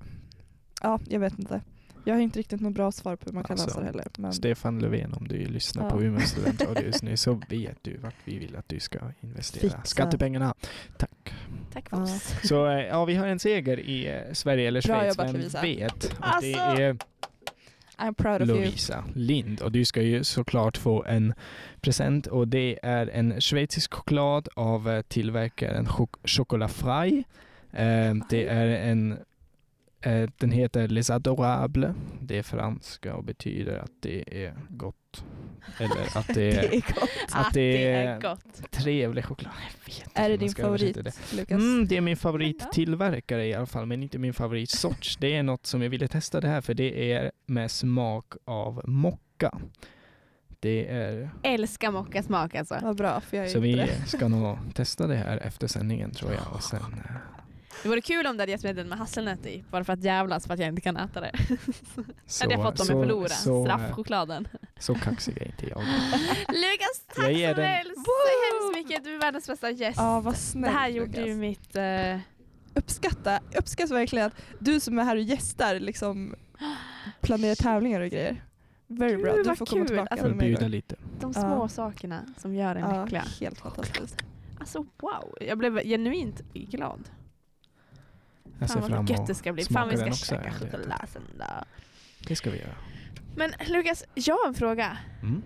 Speaker 1: Ja, jag vet inte. Jag har inte riktigt något bra svar på hur man kan
Speaker 3: Alltså,
Speaker 1: lösa det heller. Men
Speaker 3: Stefan Löfven, om du lyssnar på
Speaker 1: Ja.
Speaker 3: Umeå studentradio just nu så vet du vart vi vill att du ska investera
Speaker 1: Fixa.
Speaker 3: skattepengarna. Tack.
Speaker 4: Tack för
Speaker 1: Ja.
Speaker 4: oss.
Speaker 3: Så eh, ja, vi har en seger i eh, Sverige eller
Speaker 1: Bra
Speaker 3: Schweiz,
Speaker 1: jobbat,
Speaker 3: vem
Speaker 1: Lovisa.
Speaker 3: vet? Och det
Speaker 1: Alltså!
Speaker 3: är
Speaker 1: I'm proud of you.
Speaker 3: Lovisa Lind och du ska ju såklart få en present och det är en schweizisk choklad av eh, tillverkaren Chok- Chocolat Frei. Eh, Det är en eh, den heter Les Adorables. Det är franska och betyder att det är gott. Eller att det är
Speaker 2: Att,
Speaker 3: det
Speaker 2: det
Speaker 3: är
Speaker 2: är gott.
Speaker 3: trevlig choklad. Jag vet inte
Speaker 1: Är det
Speaker 3: hur man
Speaker 1: din
Speaker 3: ska översätta
Speaker 1: favorit,
Speaker 3: det.
Speaker 1: Lukas?
Speaker 3: Mm, det är min favorittillverkare i alla fall, men inte min favoritsort. Det är något som jag ville testa det här för det är med smak av mocka. Det är,
Speaker 2: Älskar mockasmak alltså.
Speaker 1: Vad bra, för jag är
Speaker 3: så
Speaker 1: inte
Speaker 3: vi
Speaker 1: det.
Speaker 3: ska nog testa det här efter sändningen tror jag. Och sen, eh,
Speaker 2: Det vore kul om du hade gett mig den med hasselnöt i. Bara för att jävlas för att jag inte kan äta det.
Speaker 3: så,
Speaker 2: Hade jag fått dem
Speaker 3: så-
Speaker 2: att förlora.
Speaker 3: Så, eh,
Speaker 2: Straffchokladen.
Speaker 3: så kaxig är inte jag.
Speaker 2: Lukas, tack
Speaker 3: Jag ger
Speaker 2: så
Speaker 3: den-
Speaker 2: väl- så hemskt mycket. Du är världens bästa gäst.
Speaker 1: Ja, vad snällt
Speaker 2: det här gjorde
Speaker 1: Lukas.
Speaker 2: ju mitt... eh,
Speaker 1: Uppskatta, uppskatta verkligen att du som är här och gästar liksom planerar tävlingar och grejer. Very
Speaker 2: Gud,
Speaker 1: bra, du
Speaker 2: vad
Speaker 1: får komma
Speaker 2: kul.
Speaker 1: tillbaka.
Speaker 2: Alltså,
Speaker 3: Får
Speaker 1: med mig
Speaker 3: bjuda
Speaker 1: då.
Speaker 3: lite.
Speaker 2: de små
Speaker 1: Ja.
Speaker 2: sakerna som gör en
Speaker 1: Ja,
Speaker 2: lycklig.
Speaker 1: helt fantastiskt.
Speaker 2: Alltså wow, jag blev genuint glad.
Speaker 3: Jag ser
Speaker 2: Fan
Speaker 3: fram
Speaker 2: vad gött
Speaker 3: emot
Speaker 2: det ska bli.
Speaker 3: smaka
Speaker 2: Fan vi ska
Speaker 3: den också,
Speaker 2: käka
Speaker 3: jag vet inte.
Speaker 2: choklad sen då.
Speaker 3: Det ska vi göra.
Speaker 2: Men Lukas, jag har en fråga.
Speaker 3: Mm.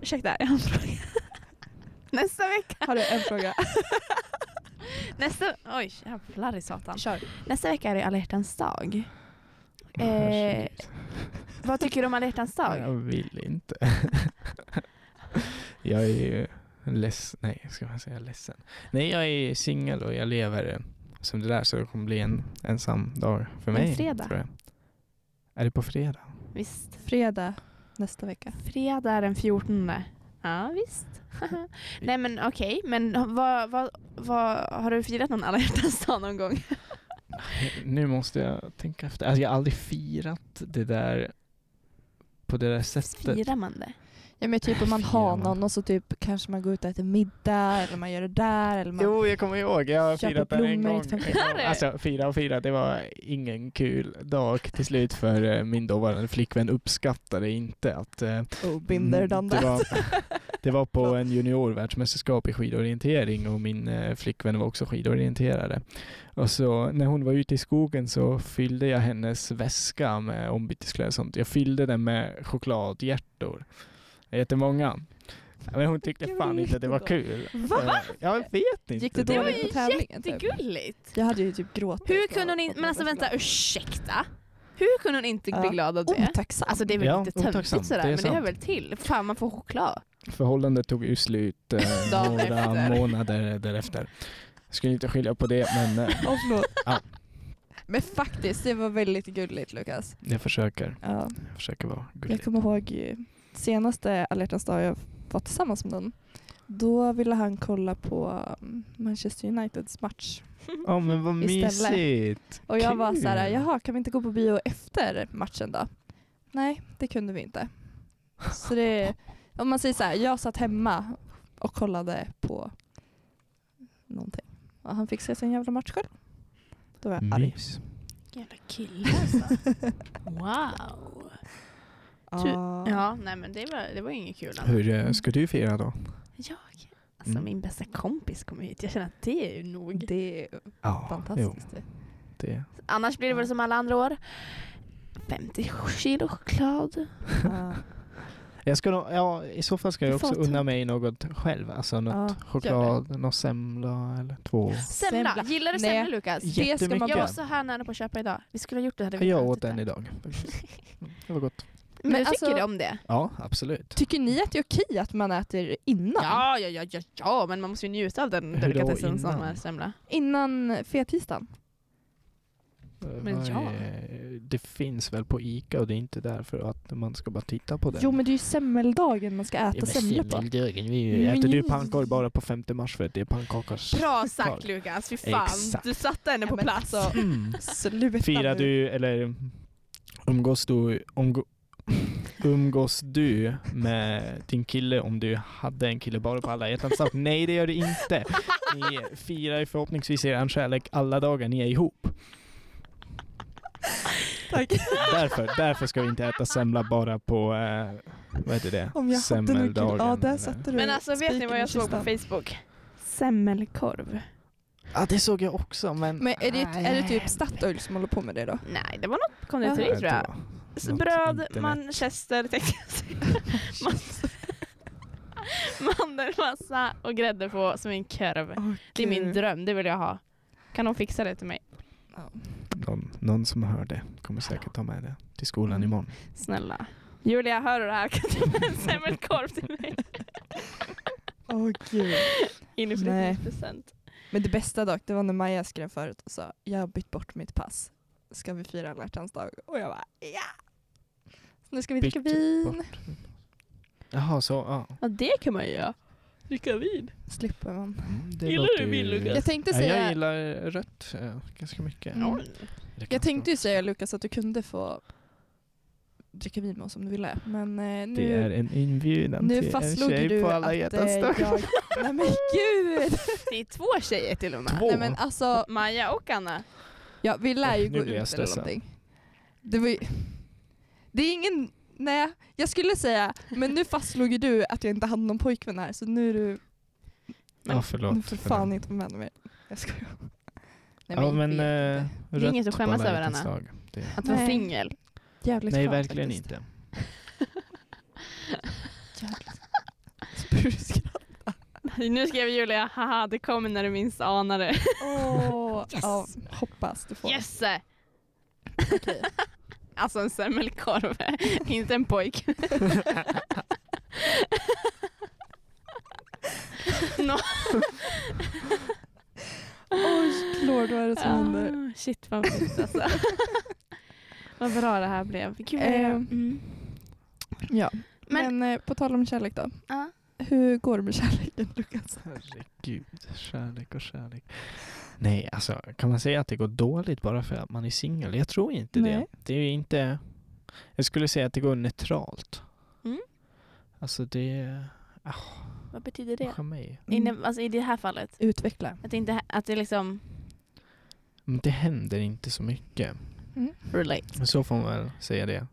Speaker 2: Ursäkta, jag har en fråga. Nästa vecka.
Speaker 1: Har du en fråga?
Speaker 2: Nästa, oj, jävlar i satan.
Speaker 1: Kör.
Speaker 2: Nästa vecka är det alla hjärtans dag. Eh,
Speaker 3: Herregud.
Speaker 2: vad tycker du om alla hjärtans
Speaker 3: Jag
Speaker 2: dag?
Speaker 3: vill inte. jag är ju ledsen, nej ska man säga ledsen? Nej jag är singel och jag lever eh, som det där så det kommer bli en ensam dag för mig.
Speaker 2: fredag.
Speaker 3: Tror jag. Är det på fredag?
Speaker 2: Visst,
Speaker 1: Fredag nästa vecka.
Speaker 2: fredag är den 14. Ja, visst. Nej men okej, men vad, vad, vad, har du firat någon alla hjärtans dag någon gång?
Speaker 3: Nu måste jag tänka efter. Alltså, jag har aldrig firat det där på det där sättet.
Speaker 2: Firar man det?
Speaker 1: Ja men typ om man
Speaker 3: Fyra
Speaker 1: har
Speaker 3: man.
Speaker 1: någon och så typ kanske man går ut och äter middag eller man gör det där eller man...
Speaker 3: Jo, jag kommer ihåg. Jag har
Speaker 1: Köper
Speaker 3: firat den en
Speaker 1: blommor,
Speaker 3: gång.
Speaker 1: liksom.
Speaker 2: du?
Speaker 3: Alltså fira och fira, det var ingen kul dag till slut för eh, min dåvarande flickvän uppskattade inte att eh,
Speaker 1: Oh, been there, done
Speaker 3: Mm, det,
Speaker 1: that.
Speaker 3: var, det var på en juniorvärldsmästerskap i skidorientering och min eh, flickvän var också skidorienterare. Och så när hon var ute i skogen så fyllde jag hennes väska med ombyteskläder och sånt. Jag fyllde den med chokladhjärtor. Jättemånga. Men hon tyckte
Speaker 1: Vilken
Speaker 3: fan inte att det var
Speaker 1: då?
Speaker 3: kul. Va? Jag vet inte.
Speaker 1: Gick det
Speaker 2: Det var
Speaker 1: dåligt på
Speaker 2: ju
Speaker 1: tävlingen? Typ?
Speaker 2: jättegulligt.
Speaker 1: Jag hade ju typ gråtit.
Speaker 2: Hur
Speaker 1: på-
Speaker 2: kunde hon
Speaker 1: på-
Speaker 2: inte,
Speaker 1: på-
Speaker 2: men alltså
Speaker 1: på-
Speaker 2: vänta ursäkta. Hur kunde hon inte bli
Speaker 1: Ja.
Speaker 2: glad av det?
Speaker 1: Otacksam.
Speaker 2: Alltså det är väl
Speaker 3: Ja,
Speaker 2: lite
Speaker 3: otacksam.
Speaker 2: töntigt sådär
Speaker 3: Det är
Speaker 2: men det hör
Speaker 3: sant.
Speaker 2: väl till. Fan man får choklad.
Speaker 3: Förhållandet tog ju slut eh,
Speaker 2: Dagen
Speaker 3: några
Speaker 2: efter.
Speaker 3: månader därefter. Jag skulle inte skilja på det, men eh,
Speaker 1: Åh,
Speaker 2: Alltså,
Speaker 1: förlåt.
Speaker 3: Ja.
Speaker 1: Men faktiskt, det var väldigt gulligt Lukas.
Speaker 3: jag försöker.
Speaker 1: Ja.
Speaker 3: Jag försöker vara
Speaker 1: Jag
Speaker 3: gullig.
Speaker 1: kommer ihåg eh, senaste alla hjärtans dag jag var tillsammans med någon. Då ville han kolla på mm, Manchester Uniteds match.
Speaker 3: Ja, men vad
Speaker 1: Istället.
Speaker 3: mysigt.
Speaker 1: Och jag var
Speaker 3: Kul.
Speaker 1: så här, jaha kan vi inte gå på bio efter matchen då? Nej, det kunde vi inte. Så det, om man säger så här, jag satt hemma och kollade på någonting. Och han fick se sin jävla match själv. Då var jag arg.
Speaker 3: Mys.
Speaker 2: Jävla kille alltså. wow. Ja nej men det var, det var ju inget kul. Anna.
Speaker 3: Hur eh, ska du fira då?
Speaker 2: Jag? Alltså
Speaker 3: Mm.
Speaker 2: min bästa kompis kom hit. Jag känner att det är ju nog.
Speaker 1: Det är
Speaker 3: Ja, jo,
Speaker 1: fantastiskt.
Speaker 3: det.
Speaker 2: Annars blir det väl som alla andra år. 50 kilo choklad.
Speaker 1: Ja.
Speaker 3: Jag ska nog, ja, I så fall ska jag
Speaker 1: Du
Speaker 3: också
Speaker 1: får ta-
Speaker 3: unna mig något själv. Alltså något
Speaker 1: Ja,
Speaker 3: choklad, någon semla eller två.
Speaker 2: Semla.
Speaker 1: Semla.
Speaker 2: Gillar du
Speaker 1: Nej.
Speaker 2: semla Lukas?
Speaker 1: ska man
Speaker 3: Jättemycket.
Speaker 2: Jag var så här nära på att köpa idag. Vi skulle ha gjort det hade vi
Speaker 3: Jag
Speaker 2: inte
Speaker 3: åt
Speaker 2: ätit
Speaker 3: den
Speaker 2: det.
Speaker 3: idag. faktiskt. Mm, Det var gott.
Speaker 2: Men,
Speaker 1: Men
Speaker 2: du tycker
Speaker 1: alltså-
Speaker 2: om det?
Speaker 3: Ja, absolut.
Speaker 1: Tycker ni att det är okej att man äter innan?
Speaker 2: Ja, ja, ja, ja, ja, men man måste ju njuta av den
Speaker 3: Hur då
Speaker 2: delikatessen som
Speaker 3: innan?
Speaker 2: är semla.
Speaker 1: Innan fettisdagen?
Speaker 3: Men
Speaker 2: ja.
Speaker 3: Eh, Det finns väl på Ica och det är inte därför att man ska bara titta på den.
Speaker 1: Jo men det är ju semmeldagen man ska äta semla Mm. på.
Speaker 3: Äter du pannkakor bara på 5 mars för att det är pannkakors...
Speaker 2: Bra sagt
Speaker 3: Klar.
Speaker 2: Lukas, fy fan.
Speaker 3: Exakt.
Speaker 2: Du satte henne
Speaker 1: Ja,
Speaker 2: på
Speaker 1: men
Speaker 2: plats.
Speaker 1: alltså,
Speaker 3: Mm.
Speaker 1: Sluta
Speaker 3: Firar
Speaker 1: nu.
Speaker 3: du, eller umgås du, umgå, umgås du med din kille om du hade en kille bara på alla hjärtans dag? Nej, det gör du inte. Ni firar ju förhoppningsvis er kärlek alla dagar ni är ihop.
Speaker 1: Tack.
Speaker 3: Därför, därför ska vi inte äta semla bara på, eh, vad heter det?
Speaker 1: Om jag hade någon kul.
Speaker 3: Semmeldagen,
Speaker 1: Ja, där
Speaker 3: eller-
Speaker 1: satte du
Speaker 2: Men alltså vet ni
Speaker 1: spiken
Speaker 2: vad
Speaker 1: i
Speaker 2: jag såg på
Speaker 1: kistan.
Speaker 2: Facebook?
Speaker 4: Semmelkorv.
Speaker 3: Ja, det såg jag också men...
Speaker 1: Men är det, är det typ Statoil som håller på med det då?
Speaker 4: Nej, det var något
Speaker 3: Nej,
Speaker 4: konditori tror
Speaker 3: det
Speaker 4: jag.
Speaker 3: var
Speaker 4: S-
Speaker 3: något
Speaker 4: Bröd,
Speaker 3: internet.
Speaker 4: manchester tänkte jag säga. Man-
Speaker 2: Mandelmassa och grädde på som en korv.
Speaker 1: Åh,
Speaker 2: Det är min
Speaker 1: gud.
Speaker 2: dröm, det vill jag ha. Kan de fixa det till mig?
Speaker 3: Någon, någon som hör det kommer säkert ta med det till skolan imorgon.
Speaker 2: Snälla. Julia, hör du det här? Kan du ge en semmelkorv till mig?
Speaker 1: Åh gud. Nej.
Speaker 2: Inifrån
Speaker 1: Men det bästa dock, det var när Maja skrev förut och sa jag har bytt bort mitt pass. Ska vi fira alla hjärtans dag? Och jag bara ja! Så nu ska vi dricka
Speaker 3: Bytt
Speaker 1: vin.
Speaker 3: bort. Jaha, så. Ja.
Speaker 2: Ja, det kan man ju göra. Dricka vin.
Speaker 1: Slipper man.
Speaker 3: Mm, det
Speaker 2: Gillar
Speaker 3: låter
Speaker 2: du
Speaker 3: ju-
Speaker 2: vin, Lukas?
Speaker 1: Jag tänkte
Speaker 3: Ja, jag
Speaker 1: säga,
Speaker 3: gillar rött eh, ganska mycket.
Speaker 1: Mm.
Speaker 3: Eller kanske
Speaker 1: jag tänkte ju säga Lukas att du kunde få dricka vin med oss om du ville. Men eh,
Speaker 3: Det är
Speaker 1: nu,
Speaker 3: en inbjudan
Speaker 1: nu
Speaker 3: till en
Speaker 1: fastslog
Speaker 3: tjej
Speaker 1: du
Speaker 3: på
Speaker 1: att
Speaker 3: alla
Speaker 1: eh,
Speaker 3: hjärtans dag.
Speaker 1: jag... Nej men gud!
Speaker 2: Det är två tjejer till och med.
Speaker 3: Två?
Speaker 1: Nej men alltså,
Speaker 2: Maja och Anna.
Speaker 1: ja, vi lär ju
Speaker 3: Äh, Nu
Speaker 1: gå ut
Speaker 3: blir jag
Speaker 1: eller
Speaker 3: stressad.
Speaker 1: någonting. Det var ju... Det är ingen... Nej, jag skulle säga, men nu fastslog ju du att jag inte hade någon pojkvän här så nu är du
Speaker 3: Ja, förlåt.
Speaker 1: Nu får
Speaker 3: för
Speaker 1: fan
Speaker 3: den.
Speaker 1: inte vara med mer. Jag skojar. Nej,
Speaker 3: Ja,
Speaker 1: jag
Speaker 3: men,
Speaker 1: vet inte.
Speaker 3: eh,
Speaker 2: är
Speaker 3: rött
Speaker 2: inget att
Speaker 3: på
Speaker 2: skämmas
Speaker 3: alla
Speaker 2: över,
Speaker 3: hjärtans
Speaker 2: Anna.
Speaker 3: dag. Det-
Speaker 2: Att vara
Speaker 1: Nej.
Speaker 2: singel.
Speaker 1: Jävligt
Speaker 3: eh, Nej,
Speaker 1: skönt
Speaker 3: verkligen
Speaker 1: faktiskt.
Speaker 3: inte.
Speaker 1: Jävligt skönt.
Speaker 2: Nu skrev Julia, haha det kommer när du minst anar det.
Speaker 1: Åh, ja, hoppas du får.
Speaker 2: Yes!
Speaker 1: Okej.
Speaker 2: Alltså en semmelkorv, inte en pojk. no.
Speaker 1: Oj, lord vad är det som händer?
Speaker 2: Ah, shit vad fint alltså. vad bra det här blev. Gud, vad
Speaker 1: Eh,
Speaker 2: jag- mm.
Speaker 1: Ja.
Speaker 2: Men-
Speaker 1: Men, eh, på tal om kärlek då.
Speaker 2: Ja.
Speaker 1: Hur går det med kärleken Lukas?
Speaker 3: Herregud, kärlek och kärlek. Nej, alltså kan man säga att det går dåligt bara för att man är singel? Jag tror inte
Speaker 1: Nej.
Speaker 3: det. Det är ju inte... Jag skulle säga att det går neutralt.
Speaker 2: Mm.
Speaker 3: Alltså det...
Speaker 2: Vad betyder det?
Speaker 3: För mig.
Speaker 2: Inne, alltså, I det här fallet?
Speaker 1: Utveckla.
Speaker 2: Att det, inte, att det liksom...
Speaker 3: Men Mm, det händer inte så mycket.
Speaker 1: Mm.
Speaker 2: Relate.
Speaker 3: Men så får man väl säga det.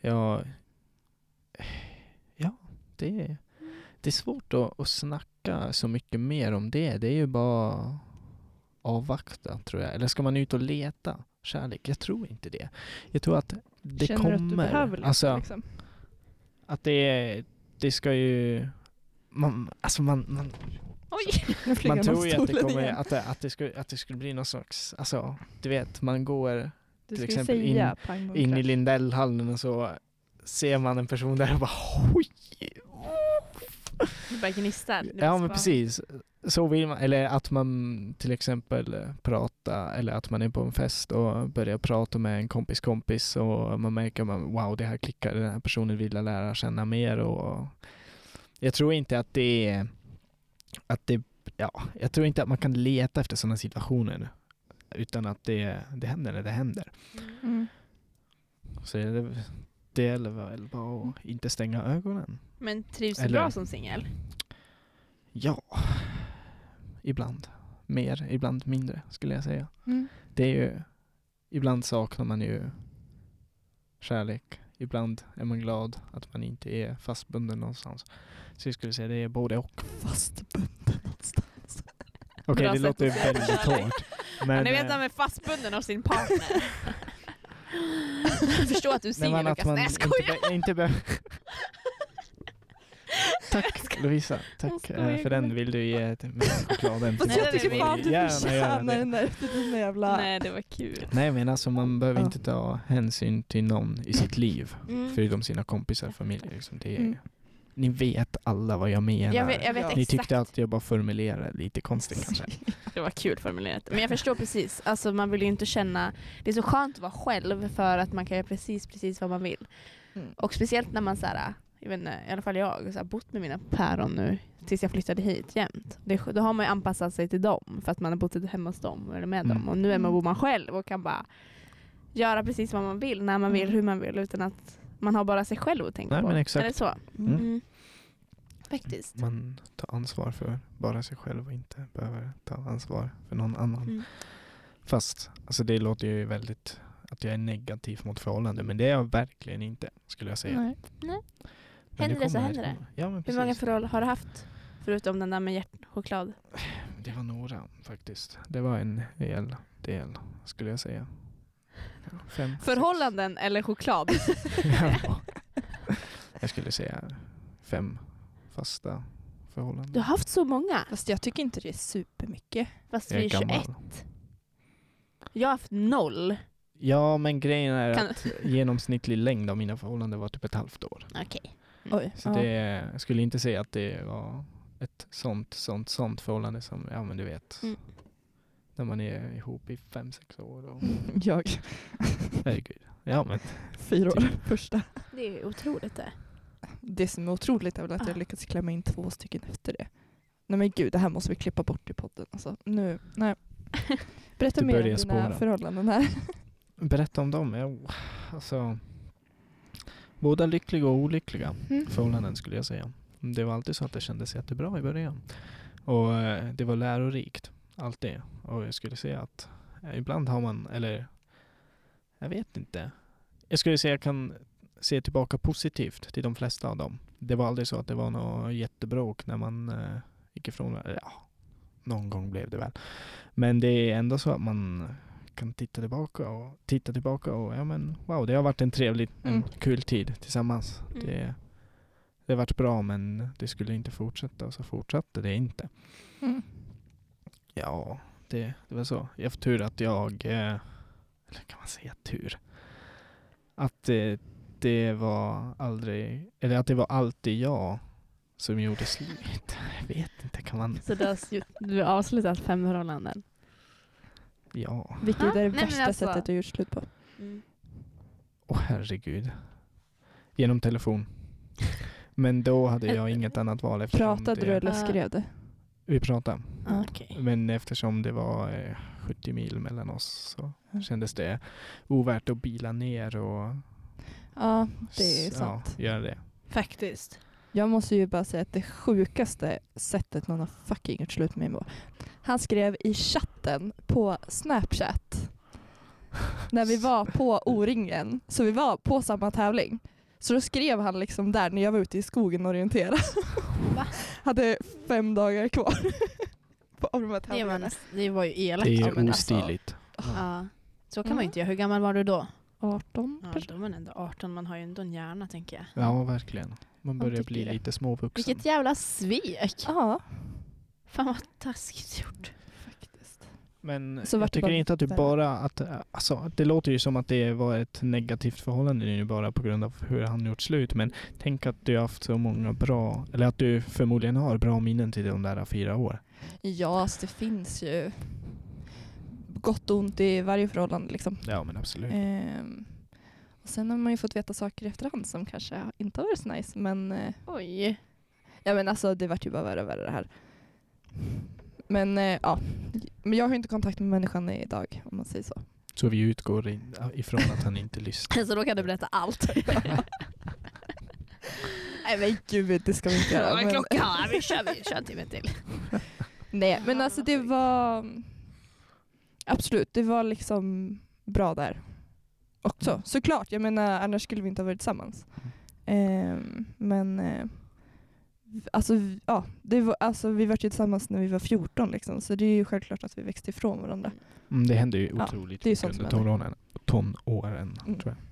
Speaker 3: Ja, ja det, är, det är svårt att, att snacka så mycket mer om det. Det är ju bara avvakta tror jag. Eller ska man ut och leta kärlek? Jag tror inte det. Jag tror att det
Speaker 1: Känner
Speaker 3: kommer.
Speaker 1: du att du behöver lite,
Speaker 3: alltså,
Speaker 1: liksom?
Speaker 3: att det, är- det ska ju... Man, alltså man, man,
Speaker 1: Nu flyger
Speaker 3: man
Speaker 1: jag av
Speaker 3: tror ju att det,
Speaker 1: stolen
Speaker 3: kommer,
Speaker 1: igen.
Speaker 3: att, det, att, det skulle, att det skulle bli någon sorts, alltså du vet, man går
Speaker 1: Du
Speaker 3: till
Speaker 1: ska ju
Speaker 3: exempel in-
Speaker 1: säga pang bom,
Speaker 3: in i
Speaker 1: krasch.
Speaker 3: Lindellhallen och så ser man en person där och bara oj!
Speaker 2: Du bara gnistrar. Du
Speaker 3: Ja
Speaker 2: bara
Speaker 3: men
Speaker 2: bara-
Speaker 3: precis. Så vill man, eller att man till exempel eh, pratar, eller att man är på en fest och börjar prata med en kompis kompis och man märker man, wow det här klickar, den här personen vill jag lära känna mer och jag tror inte att det är, att det, ja, jag tror inte att man kan leta efter sådana situationer utan att det, det händer när det händer.
Speaker 1: Mm.
Speaker 3: Så det, det gäller väl bara att inte stänga ögonen.
Speaker 2: Men trivs du
Speaker 3: Eller-
Speaker 2: bra som singel?
Speaker 3: Ja, ibland mer, ibland mindre skulle jag säga.
Speaker 1: Mm.
Speaker 3: Det är ju, ibland saknar man ju kärlek. Ibland är man glad att man inte är fastbunden någonstans. Så jag skulle säga det är både och.
Speaker 1: Fastbunden någonstans.
Speaker 3: Okej,
Speaker 2: Bra
Speaker 3: det
Speaker 2: sätt
Speaker 3: låter
Speaker 2: att säga
Speaker 3: väldigt
Speaker 2: kärlek.
Speaker 3: hårt.
Speaker 2: Men,
Speaker 3: Men,
Speaker 2: ni vet
Speaker 3: eh,
Speaker 2: han är fastbunden av sin partner. Jag förstår att du är
Speaker 3: nej,
Speaker 2: singel
Speaker 3: men
Speaker 2: Lukas.
Speaker 3: att man
Speaker 2: Nej jag
Speaker 3: inte,
Speaker 2: skojar.
Speaker 3: be- inte behöver...
Speaker 2: Jag skojar.
Speaker 3: Tack Lovisa, tack
Speaker 2: skojar,
Speaker 3: eh, för den. Vill du ge ett- mig chokladen
Speaker 1: Fast
Speaker 2: Nej,
Speaker 1: jag
Speaker 2: det
Speaker 1: tycker
Speaker 2: vill
Speaker 1: fan
Speaker 2: vi
Speaker 1: du
Speaker 3: Gärna göra
Speaker 1: förtjänar
Speaker 3: det.
Speaker 1: den där efter dina jävla...
Speaker 2: Nej det var kul.
Speaker 3: Nej men alltså man behöver
Speaker 1: Ja.
Speaker 3: inte ta hänsyn till någon i sitt liv
Speaker 2: Mm.
Speaker 3: förutom sina kompisar och familj. Liksom. Det är,
Speaker 1: Mm.
Speaker 3: Ni vet alla vad jag menar.
Speaker 2: Jag vet, jag vet
Speaker 1: Ni
Speaker 3: Ni
Speaker 2: exakt.
Speaker 3: tyckte att jag bara formulerade lite konstigt kanske.
Speaker 2: Det var kul formulerat. Men jag förstår precis. Alltså man vill ju inte känna... Det är så skönt att vara själv för att man kan göra precis, precis vad man vill.
Speaker 1: Mm.
Speaker 2: Och speciellt när man så här, jag vet inte, i alla fall jag, så här, bott med mina päron nu tills jag flyttade hit jämt. Det, är skö- då har man ju anpassat sig till dem för att man har bott hemma hos dem eller med
Speaker 3: Mm.
Speaker 2: dem. Och nu är man,
Speaker 1: Mm.
Speaker 2: bor man själv och kan bara göra precis vad man vill, när man vill,
Speaker 1: Mm.
Speaker 2: hur man vill utan att man har bara sig själv att tänka
Speaker 3: Nej,
Speaker 2: på.
Speaker 3: men exakt.
Speaker 2: Är det så?
Speaker 3: Mm.
Speaker 2: Mm. Faktiskt.
Speaker 3: Man tar ansvar för bara sig själv och inte behöver ta ansvar för någon annan.
Speaker 2: Mm.
Speaker 3: Fast alltså det låter ju väldigt att jag är negativ mot förhållanden, men det är jag verkligen inte skulle jag säga.
Speaker 1: Nej.
Speaker 3: Men
Speaker 4: Händer det så
Speaker 3: kommer-
Speaker 4: händer det.
Speaker 3: kommer. Ja, men
Speaker 4: Hur
Speaker 3: precis.
Speaker 4: många förhåll har du haft? Förutom den där med hjärtchoklad.
Speaker 3: Det var några faktiskt. Det var en hel del skulle jag säga. Ja, Fem,
Speaker 2: Förhållanden eller choklad?
Speaker 3: Ja. jag skulle säga fem fasta förhållanden.
Speaker 4: Du har haft så många.
Speaker 1: Fast jag tycker inte det är supermycket.
Speaker 4: Fast
Speaker 3: Jag
Speaker 4: vi
Speaker 3: är
Speaker 4: är 21.
Speaker 3: gammal.
Speaker 4: Jag har haft noll.
Speaker 3: Ja, men grejen är
Speaker 4: Kan-
Speaker 3: att genomsnittlig längd av mina förhållanden var typ ett halvt år.
Speaker 4: Okej.
Speaker 1: Oj.
Speaker 3: Så det, jag skulle inte säga att det var ett sånt, sånt, sånt förhållande som, ja men du vet,
Speaker 4: Mm.
Speaker 3: när man är ihop i fem, sex år. Och,
Speaker 1: Jag,
Speaker 3: herregud. Ja men,
Speaker 1: fyra år Typ första.
Speaker 4: Det är ju otroligt det.
Speaker 1: Det som är otroligt är väl att jag lyckats klämma in två stycken efter det. Nej men gud, det här måste vi klippa bort i podden. Alltså, nu, nej. Berätta
Speaker 3: Det
Speaker 1: mer om
Speaker 3: börjar
Speaker 1: dina
Speaker 3: spåra.
Speaker 1: förhållanden här.
Speaker 3: berätta om dem. Ja, alltså, båda lyckliga och olyckliga.
Speaker 1: Mm.
Speaker 3: förhållanden skulle jag säga. Det var alltid så att det kändes jättebra i början. Och eh, det var lärorikt, allt det. Och jag skulle säga att eh, ibland har man, eller jag vet inte. Jag skulle säga jag kan se tillbaka positivt till de flesta av dem. Det var aldrig så att det var något jättebråk när man eh, gick ifrån varandra. Ja, någon gång blev det väl. Men det är ändå så att man kan titta tillbaka och titta tillbaka och ja men wow, det har varit en trevlig, en
Speaker 1: Mm.
Speaker 3: kul tid tillsammans.
Speaker 4: Mm.
Speaker 3: Det, det har varit bra men det skulle inte fortsätta och så fortsatte det inte.
Speaker 1: Mm.
Speaker 3: Ja, det, det var så. Jag har haft tur att jag, eh, eller kan man säga tur? Att eh, det var aldrig, eller att det var alltid jag som gjorde slut. Jag vet inte, kan man,
Speaker 4: Så du har, slut- du har avslutat fem förhållanden.
Speaker 3: ja.
Speaker 1: Vilket
Speaker 4: Ja,
Speaker 1: är det
Speaker 4: nej, men
Speaker 1: värsta
Speaker 4: alltså.
Speaker 1: sättet att göra slut på?
Speaker 4: Mm.
Speaker 3: Åh herregud. Genom telefon. Men då hade jag inget annat val eftersom
Speaker 1: Pratade
Speaker 3: det,
Speaker 1: du eller
Speaker 4: Ja.
Speaker 1: skrev du?
Speaker 3: Vi pratade.
Speaker 1: Ja.
Speaker 4: Okej.
Speaker 3: Men eftersom det var eh, 70 mil mellan oss så
Speaker 1: Mm.
Speaker 3: kändes det ovärt att bila ner och
Speaker 1: Ja, det är
Speaker 3: s-
Speaker 1: sant.
Speaker 3: Ja, göra det.
Speaker 2: Faktiskt.
Speaker 1: Jag måste ju bara säga att det sjukaste sättet någon har fucking gjort slut med mig på. Han skrev i chatten på Snapchat när vi var på O-ringen, så vi var på samma tävling. Så då skrev han liksom där när jag var ute i skogen och orienterade.
Speaker 4: Va?
Speaker 1: Hade fem dagar kvar på- av de här
Speaker 4: Det, var,
Speaker 1: tävlingarna.
Speaker 4: näst- det var ju elakt.
Speaker 3: Det
Speaker 4: Ja,
Speaker 3: är
Speaker 4: men
Speaker 3: ostiligt.
Speaker 4: Alltså, ja. Så kan man
Speaker 1: Mm.
Speaker 4: ju inte göra. Hur gammal var du då?
Speaker 1: 18
Speaker 4: Ja,
Speaker 1: kanske?
Speaker 4: då var man ändå 18. Man har ju ändå en hjärna tänker jag.
Speaker 3: Ja, verkligen. Man börjar
Speaker 4: tycker
Speaker 3: bli
Speaker 4: det.
Speaker 3: lite småvuxen.
Speaker 4: Vilket jävla svek!
Speaker 1: Ja,
Speaker 4: Fan vad taskigt gjort.
Speaker 1: faktiskt.
Speaker 3: Men
Speaker 1: Så
Speaker 3: jag
Speaker 1: vart det
Speaker 3: tycker
Speaker 1: bara
Speaker 3: inte att du
Speaker 1: där.
Speaker 3: bara att, alltså det låter ju som att det var ett negativt förhållande nu bara på grund av hur han gjort slut. Men tänk att du har haft så många bra, eller att du förmodligen har bra minnen till de där fyra år.
Speaker 1: Ja, alltså det finns ju gott och ont i varje förhållande liksom.
Speaker 3: Ja men absolut.
Speaker 1: Ehm, och sen har man ju fått veta saker i efterhand som kanske inte har varit så nice. Men, eh,
Speaker 4: Oj.
Speaker 1: ja, men alltså, det vart ju bara värre och värre det här. Men eh, ja, men jag har ju inte kontakt med människan idag om man säger så.
Speaker 3: Så vi utgår in, eh, ifrån att han inte lyssnar.
Speaker 4: Så då kan du berätta allt.
Speaker 1: Nej men gud, det ska vi inte göra. Men,
Speaker 4: klockan? Vi kör, vi kör en timme till.
Speaker 1: nej men alltså det var absolut, det var liksom bra där
Speaker 3: Mm.
Speaker 1: också. Såklart, jag menar annars skulle vi inte ha varit tillsammans. Ehm, men eh, alltså, vi- ja, det var, alltså vi var ju tillsammans när vi var 14 liksom, så det är ju självklart att vi växte ifrån varandra.
Speaker 3: Mm, det händer ju
Speaker 1: Ja,
Speaker 3: otroligt
Speaker 1: det är ju
Speaker 3: mycket
Speaker 1: sånt
Speaker 3: under
Speaker 1: som
Speaker 3: tonåren. tonåren
Speaker 1: Mm.
Speaker 3: tror jag.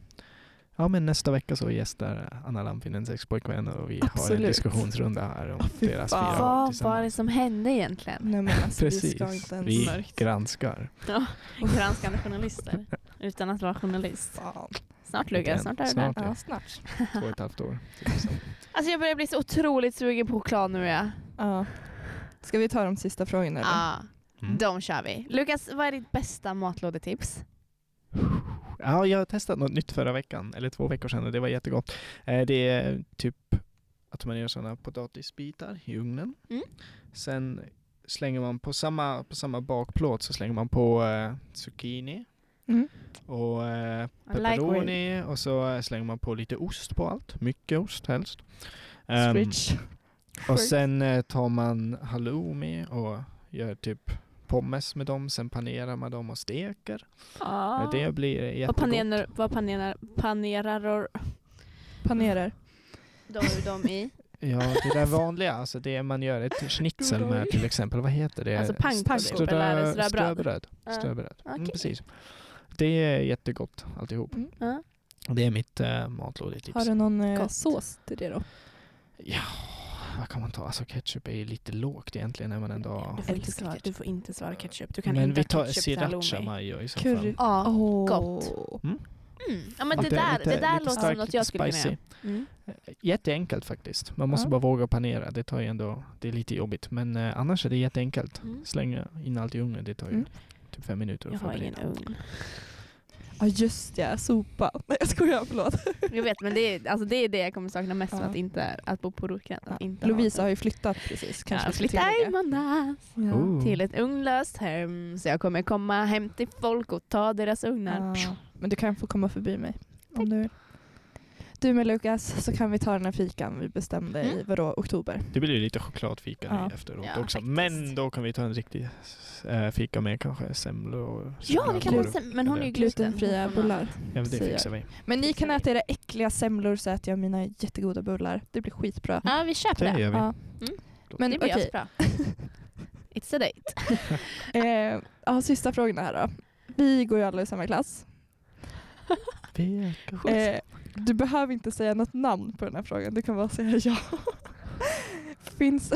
Speaker 3: Ja men nästa vecka så gästar Anna Lampinens ex-pojkvän och vi har en
Speaker 1: Absolut.
Speaker 3: diskussionsrunda här om
Speaker 1: Åh, fy
Speaker 3: deras
Speaker 1: fan.
Speaker 3: fyra år
Speaker 4: Vad var det
Speaker 3: tillsammans.
Speaker 4: som hände
Speaker 2: Mm.
Speaker 4: egentligen?
Speaker 1: Nej men alltså vi
Speaker 3: Precis,
Speaker 1: ska inte ens...
Speaker 3: vi
Speaker 4: Mörkt.
Speaker 3: granskar.
Speaker 4: Granskande journalister. Utan att vara journalist.
Speaker 1: Fan.
Speaker 4: Snart Lukas,
Speaker 3: Inte
Speaker 4: snart
Speaker 3: än.
Speaker 4: är du där.
Speaker 3: Snart.
Speaker 1: Ja, snart.
Speaker 3: Två och ett halvt år.
Speaker 4: Alltså jag börjar bli så otroligt sugen på choklad nu är jag.
Speaker 1: Ja. Ska vi ta de sista frågorna? eller?
Speaker 4: Ja,
Speaker 3: Mm.
Speaker 4: de kör vi. Lukas, vad är ditt bästa matlådetips?
Speaker 3: Ja, jag har testat något nytt förra veckan, eller två veckor sedan och det var jättegott. Eh, Det är typ att man gör sådana potatisbitar i ugnen.
Speaker 4: Mm.
Speaker 3: Sen slänger man på samma, på samma bakplåt så slänger man på eh, zucchini
Speaker 1: Mm.
Speaker 3: och eh,
Speaker 4: I like
Speaker 3: pepperoni och så eh, slänger man på lite ost på allt. Mycket ost helst. Ehm,
Speaker 1: Switch.
Speaker 3: och sen eh, tar man halloumi och gör typ pommes med dem, sen panerar man dem och steker.
Speaker 2: Ah.
Speaker 3: Det blir jättegott.
Speaker 2: Vad panerar, vad panerar, panerar
Speaker 1: Panerar.
Speaker 2: de dem i?
Speaker 3: Ja, det där vanliga, alltså det man gör ett schnitzel med till exempel, vad heter det?
Speaker 2: Alltså pannkakor
Speaker 3: Ströda-
Speaker 2: eller är det ströbröd?
Speaker 3: Ströbröd.
Speaker 2: Ja.
Speaker 3: Ströbröd. Mm,
Speaker 2: Okej.
Speaker 3: precis. Det är jättegott alltihop.
Speaker 1: Mm.
Speaker 2: Ja.
Speaker 3: Det är mitt äh, matlådetips.
Speaker 1: Har du någon eh,
Speaker 2: Gott.
Speaker 1: sås till det då?
Speaker 3: Vad kan man ta? Alltså ketchup är ju lite lågt egentligen när man ändå har...
Speaker 2: Du får, inte
Speaker 1: Älskar
Speaker 2: svara,
Speaker 1: ketchup.
Speaker 2: du får inte svara ketchup. Du kan
Speaker 3: Men
Speaker 2: inte
Speaker 3: vi tar
Speaker 2: ha ketchup
Speaker 3: sriracha
Speaker 2: salome.
Speaker 3: majo i så
Speaker 1: Curry.
Speaker 3: fall.
Speaker 2: Ja.
Speaker 1: Åh.
Speaker 2: gott. Mm. ja men det
Speaker 3: Lite-
Speaker 2: där,
Speaker 3: lite-
Speaker 2: det där
Speaker 3: lite
Speaker 2: låter som
Speaker 3: starkt,
Speaker 2: något
Speaker 3: lite
Speaker 2: jag skulle kunna
Speaker 3: spicy.
Speaker 2: göra. Mm.
Speaker 3: Jätteenkelt faktiskt. Man måste
Speaker 1: Ja.
Speaker 3: bara våga panera. Det tar ju ändå, det är lite jobbigt. Men eh, annars är det jätteenkelt.
Speaker 2: Mm.
Speaker 3: Slänga in allt i ugnen. Det tar ju
Speaker 1: Mm.
Speaker 3: typ fem minuter
Speaker 2: Jag
Speaker 3: att
Speaker 2: har
Speaker 3: förbereda.
Speaker 2: ingen ugn.
Speaker 1: Ja just ja, sopa. Nej jag skojar, förlåt.
Speaker 2: Jag vet men det är, alltså det, är det jag kommer sakna mest med
Speaker 1: Ja.
Speaker 2: att, inte, att bo på Rokran. Att inte
Speaker 1: Lovisa har
Speaker 2: ha
Speaker 1: ju flyttat precis. Kanske
Speaker 2: Ja,
Speaker 1: vi ska
Speaker 2: flyttar i
Speaker 1: tillägga.
Speaker 2: måndags
Speaker 1: Ja.
Speaker 3: Oh.
Speaker 2: till ett ugnlöst hem. Så jag kommer komma hem till folk och ta deras ugnar.
Speaker 1: Ja. Men du kan få komma förbi mig om du vill. Du med Lukas så kan vi ta den här fikan vi bestämde i
Speaker 2: Mm.
Speaker 1: vadå, oktober.
Speaker 3: Det blir ju lite chokladfika
Speaker 1: Ja.
Speaker 3: nu efteråt
Speaker 2: Ja,
Speaker 3: också.
Speaker 2: faktiskt.
Speaker 3: Men då kan vi ta en riktig eh, fika med kanske semlor och
Speaker 2: Ja, vi kan ha
Speaker 3: semlakorv.
Speaker 2: sen, men hon är ju gluten.
Speaker 1: Glutenfria
Speaker 2: Hon får mat.
Speaker 1: bullar.
Speaker 3: Ja, men det
Speaker 1: säger jag.
Speaker 3: fixar vi.
Speaker 1: Men ni kan
Speaker 2: Fixar vi.
Speaker 1: äta era äckliga semlor så äter jag mina jättegoda bullar. Det blir skitbra.
Speaker 2: Ja, vi köper
Speaker 3: Det
Speaker 2: det.
Speaker 3: gör vi.
Speaker 1: Ja.
Speaker 2: Mm.
Speaker 1: Men
Speaker 2: det
Speaker 1: okej,
Speaker 2: blir asbra. It's a date.
Speaker 1: eh, ja, sista frågan här då. Vi går ju alla i samma klass.
Speaker 3: vi.
Speaker 1: Eh, du behöver inte säga något namn på den här frågan, du kan bara säga ja. Finns...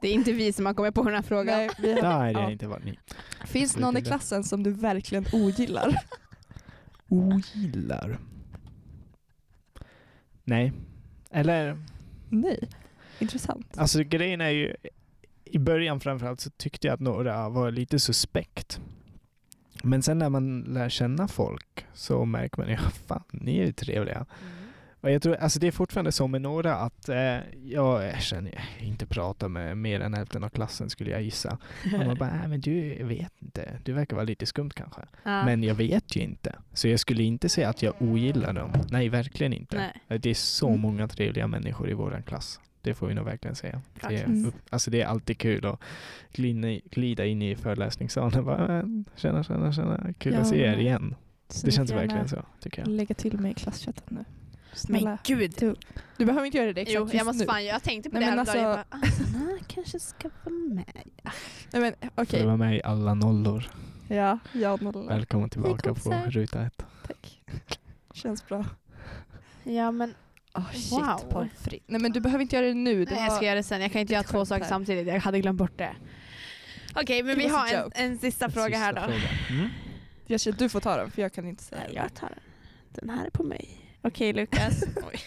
Speaker 2: Det är inte vi som har kommit på den här frågan.
Speaker 1: Nej, vi har...
Speaker 3: Nej, det
Speaker 1: ja.
Speaker 3: är inte vad ni
Speaker 1: Finns någon i klassen som du verkligen ogillar?
Speaker 3: ogillar. Nej. Eller,
Speaker 1: Nej. Intressant.
Speaker 3: alltså grejen är ju, i början framförallt så tyckte jag att några var lite suspekt. Men sen när man lär känna folk så märker man ju, fan ni är ju trevliga. Och jag tror, alltså det är fortfarande så med några att eh, jag känner jag inte prata med mer än hälften av klassen skulle jag gissa. Och man bara, nej men du jag vet inte, du verkar vara lite skumt kanske.
Speaker 2: Ja.
Speaker 3: Men jag vet ju inte. Så jag skulle inte säga att jag ogillar dem. Nej, verkligen inte.
Speaker 2: Nej.
Speaker 3: Det är så
Speaker 1: Mm.
Speaker 3: många trevliga människor i vår klass. Det får vi nog verkligen säga.
Speaker 2: Bra
Speaker 3: Det är,
Speaker 1: klass.
Speaker 3: upp, alltså det är alltid kul att glida, i- glida in i föreläsningssalen och bara, "Äh, tjena, tjena, tjena, kul
Speaker 1: Ja.
Speaker 3: att se er igen.
Speaker 1: Så
Speaker 3: Det
Speaker 1: ni
Speaker 3: känns
Speaker 1: får gärna
Speaker 3: verkligen så, tycker jag.
Speaker 1: Lägga till mig i klasschatten nu.
Speaker 2: Men
Speaker 1: Snälla.
Speaker 2: gud.
Speaker 1: Du behöver inte göra det exakt
Speaker 2: Jo, jag
Speaker 1: just
Speaker 2: måste
Speaker 1: nu.
Speaker 2: fan, jag tänkte på
Speaker 1: Nej,
Speaker 2: det
Speaker 1: men
Speaker 2: häromdagen. Jag
Speaker 1: alltså-
Speaker 2: bara, "Ah." Anna kanske ska vara med.
Speaker 1: Nej, men,
Speaker 3: För
Speaker 1: okej.
Speaker 3: att vara med i alla nollor.
Speaker 1: Ja, ja nolla.
Speaker 3: Välkommen tillbaka på
Speaker 2: kompisar.
Speaker 3: ruta ett.
Speaker 1: Tack. Känns bra.
Speaker 2: Ja men
Speaker 1: Oh,
Speaker 2: shit,
Speaker 1: shit,
Speaker 2: pommes
Speaker 1: Nej men du behöver inte göra det nu. Det
Speaker 2: Nej, jag ska göra det sen, jag kan inte göra två
Speaker 1: skämt
Speaker 2: saker
Speaker 1: här.
Speaker 2: samtidigt. Jag hade glömt bort det. Okej men
Speaker 1: It
Speaker 2: vi
Speaker 1: was a
Speaker 2: har en,
Speaker 1: joke.
Speaker 2: en sista fråga här då.
Speaker 3: fråga. Mm.
Speaker 1: jag känner, du får ta den för jag kan inte säga
Speaker 2: Nej, jag tar den. Den här är på mig. Okej Lukas. Oj,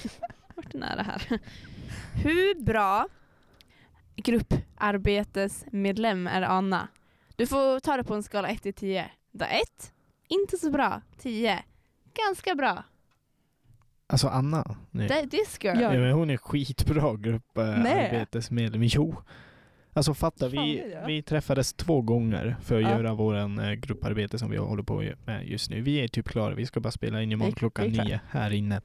Speaker 2: vart är nära här. Hur bra grupparbetesmedlem är Anna? Du får ta det på en skala 1 till 10. Då 1, inte så bra. 10, ganska bra.
Speaker 3: Alltså Anna. Nej.
Speaker 2: Det, this girl.
Speaker 1: Ja.
Speaker 3: Ja, men hon är skitbra
Speaker 1: Nej.
Speaker 3: grupparbetesmedlem. Jo. Alltså
Speaker 1: Fan,
Speaker 3: fatta, vi,
Speaker 1: det är det.
Speaker 3: vi träffades två gånger för att
Speaker 1: Ja.
Speaker 3: göra våran eh, grupparbete som vi håller på med just nu. Vi är typ klara, vi ska bara spela in imorgon
Speaker 1: gick- det
Speaker 3: klockan
Speaker 1: gick bra.
Speaker 3: nio här inne.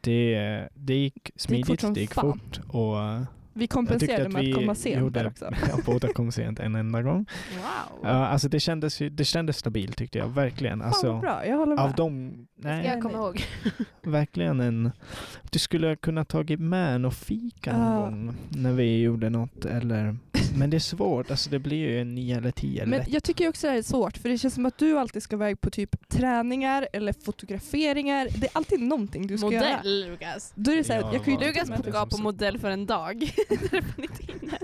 Speaker 3: Det, det gick smidigt,
Speaker 1: som
Speaker 3: det gick
Speaker 1: fan.
Speaker 3: fort och eh,
Speaker 1: Vi
Speaker 3: jag tyckte
Speaker 1: kompenserade
Speaker 3: att
Speaker 1: med
Speaker 3: vi
Speaker 1: att komma sent
Speaker 3: gjorde-
Speaker 1: där också.
Speaker 3: Ja, båda kom sent en enda gång.
Speaker 2: Wow.
Speaker 3: Ja, alltså det kändes, ju- det kändes stabilt tyckte jag, verkligen.
Speaker 1: Fan
Speaker 3: Alltså,
Speaker 1: vad bra, jag håller med.
Speaker 3: av dem, nej,
Speaker 2: Jag kommer ihåg.
Speaker 3: verkligen en... Du skulle ha kunnat tagit med en och fika någon
Speaker 1: Ja.
Speaker 3: gång när vi gjorde något eller... Men det är svårt, alltså det blir ju en 9 eller 10
Speaker 1: Men
Speaker 3: lätt.
Speaker 1: jag tycker också det här är svårt för det känns som att du alltid ska iväg på typ träningar eller fotograferingar. Det är alltid någonting du ska göra.
Speaker 2: Modell Lukas.
Speaker 1: Då är det så här,
Speaker 3: Ja,
Speaker 1: jag kan ju inte
Speaker 3: vad-
Speaker 2: Lukas
Speaker 1: ta med
Speaker 3: det
Speaker 1: det.
Speaker 2: gav på
Speaker 3: som-
Speaker 2: modell för en dag. Där är man inte inne.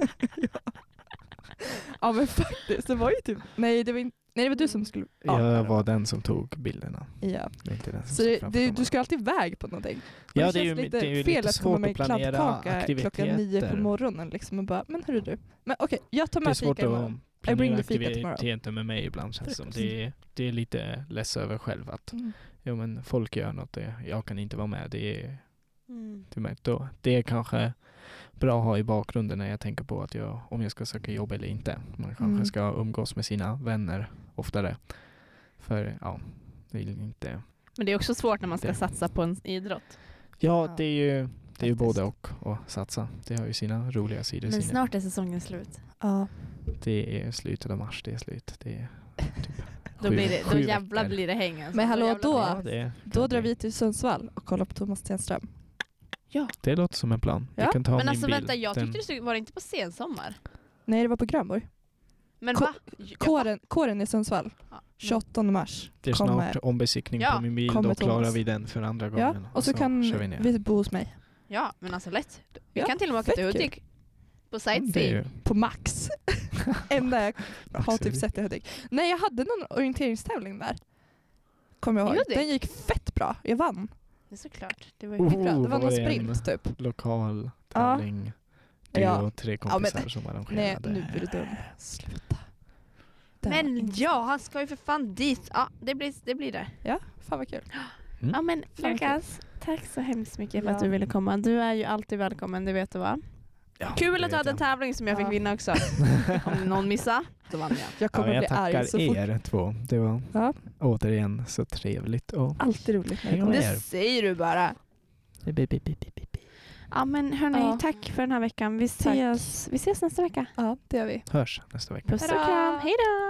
Speaker 1: Ja men faktiskt, det var ju typ, nej det var, in, nej, det var du som skulle. Ja,
Speaker 3: jag
Speaker 1: ja,
Speaker 3: var den som tog bilderna.
Speaker 1: Ja.
Speaker 3: Det är inte den som
Speaker 1: Så
Speaker 3: stod
Speaker 1: det,
Speaker 3: framför
Speaker 1: det, du
Speaker 3: kameran.
Speaker 1: ska alltid iväg på någonting. Och
Speaker 3: ja,
Speaker 1: det
Speaker 3: det är ju
Speaker 1: känns
Speaker 3: lite,
Speaker 1: lite
Speaker 3: det är ju
Speaker 1: fel
Speaker 3: lite
Speaker 1: att komma
Speaker 3: svårt
Speaker 1: med en
Speaker 3: att planera
Speaker 1: kladdkaka klockan nio på
Speaker 3: aktiviteter.
Speaker 1: morgonen liksom och bara, men hur är du? Men okej, jag tar
Speaker 3: Det är
Speaker 1: med
Speaker 3: svårt
Speaker 1: fika
Speaker 3: att
Speaker 1: imorgon. I bring
Speaker 3: planera
Speaker 1: the fika tomorrow.
Speaker 3: aktiviteter med mig ibland känns det som. Det är, det är lite less över själv att
Speaker 1: Mm.
Speaker 3: jo, men folk gör något, det- jag kan inte vara med. Det är,
Speaker 2: Mm.
Speaker 3: till mig. Då, det är kanske bra att ha i bakgrunden när jag tänker på att jag, om jag ska söka jobb eller inte. Man kanske
Speaker 1: Mm.
Speaker 3: ska umgås med sina vänner oftare. För ja, vill inte.
Speaker 2: Men det är också svårt när man ska
Speaker 3: Det.
Speaker 2: satsa på en idrott.
Speaker 3: Ja,
Speaker 1: Ja.
Speaker 3: det är ju Det är ju
Speaker 2: faktiskt.
Speaker 3: både och och satsa. Det har ju sina roliga sidor.
Speaker 2: Men
Speaker 3: sina-
Speaker 2: snart är säsongen slut.
Speaker 1: Ja.
Speaker 3: Det är slutet av mars, det är slut. Det är typ
Speaker 2: Då,
Speaker 3: sju-
Speaker 2: blir det, då
Speaker 3: sju
Speaker 2: jävlar
Speaker 3: veckor.
Speaker 2: blir det häng alltså.
Speaker 1: Men hallå
Speaker 2: jävlar blir
Speaker 1: då,
Speaker 3: Ja, det,
Speaker 1: då drar vi till Sundsvall och kollar på Thomas Stenström.
Speaker 3: det låter som en plan.
Speaker 1: Ja.
Speaker 3: Jag kan ta
Speaker 2: det- Men
Speaker 3: min
Speaker 2: alltså
Speaker 3: bil.
Speaker 2: vänta, jag
Speaker 3: Den-
Speaker 2: tyckte du stod, var det inte på sensommar?
Speaker 1: Nej det var på Grönborg.
Speaker 2: Men
Speaker 1: Ko-
Speaker 2: va? Ja.
Speaker 1: Kåren, kåren i Sundsvall,
Speaker 2: Ja, men-
Speaker 1: 28 mars.
Speaker 3: Det är
Speaker 1: kommer.
Speaker 3: snart ombesiktning
Speaker 2: Ja.
Speaker 3: på min bil,
Speaker 1: Kommer
Speaker 3: då klarar
Speaker 1: Thomas.
Speaker 3: vi den för andra
Speaker 1: Ja,
Speaker 3: gången.
Speaker 1: och så, kan
Speaker 3: kör vi ner.
Speaker 1: vi bo hos mig.
Speaker 2: Ja, men alltså lätt. Vi
Speaker 1: Ja,
Speaker 2: kan till och med åka till
Speaker 1: fett kul.
Speaker 2: Hudik. På
Speaker 3: Mm, det är ju
Speaker 2: sightseeing.
Speaker 1: På Max. Enda jag har typ
Speaker 3: absolut.
Speaker 1: sett i Hudik. Nej jag hade någon orienteringstävling där. Kommer jag
Speaker 2: I
Speaker 1: ihåg.
Speaker 2: Hudik?
Speaker 1: Den gick fett bra. Jag vann.
Speaker 2: Det är såklart. Det var ju
Speaker 3: Oh,
Speaker 1: Bra. Det var
Speaker 3: vad
Speaker 1: någon
Speaker 3: det än?
Speaker 1: sprint typ.
Speaker 3: lokal
Speaker 1: Ja.
Speaker 3: tävling. Du
Speaker 1: Ja.
Speaker 3: och tre
Speaker 1: men-
Speaker 3: kompisar som
Speaker 1: Nej
Speaker 3: arrangerade.
Speaker 1: nu är du dum. Sluta. Den var
Speaker 2: Men
Speaker 1: inte-
Speaker 2: ja, han ska ju för fan dit. Ja, det blir det. Blir det.
Speaker 1: Ja, fan vad kul.
Speaker 2: Ja men
Speaker 1: vad
Speaker 2: Lukas, tack så hemskt mycket för
Speaker 1: Ja.
Speaker 2: att du ville komma. Du är ju alltid välkommen, det vet du va?
Speaker 3: Ja,
Speaker 2: Kul
Speaker 3: det
Speaker 2: att du
Speaker 3: vet
Speaker 2: hade en
Speaker 3: jag.
Speaker 2: tävling som jag fick
Speaker 1: Ja.
Speaker 2: vinna också. Om någon missade, då vann jag.
Speaker 1: Jag
Speaker 3: Ja,
Speaker 1: kommer
Speaker 3: men jag
Speaker 1: bli arg så
Speaker 3: tackar
Speaker 1: fort.
Speaker 3: er två. Det var
Speaker 1: Ja.
Speaker 3: återigen så trevligt. Och...
Speaker 1: Alltid roligt när jag
Speaker 3: Häng
Speaker 1: kommer.
Speaker 3: med.
Speaker 2: Det
Speaker 3: er.
Speaker 2: säger du bara. Ja men hörni,
Speaker 1: Ja.
Speaker 2: tack för den här veckan. Vi ses, vi ses nästa vecka.
Speaker 1: Ja, det gör vi.
Speaker 3: Hörs nästa vecka.
Speaker 2: Puss och
Speaker 1: Hejdå.
Speaker 2: kram, hejdå!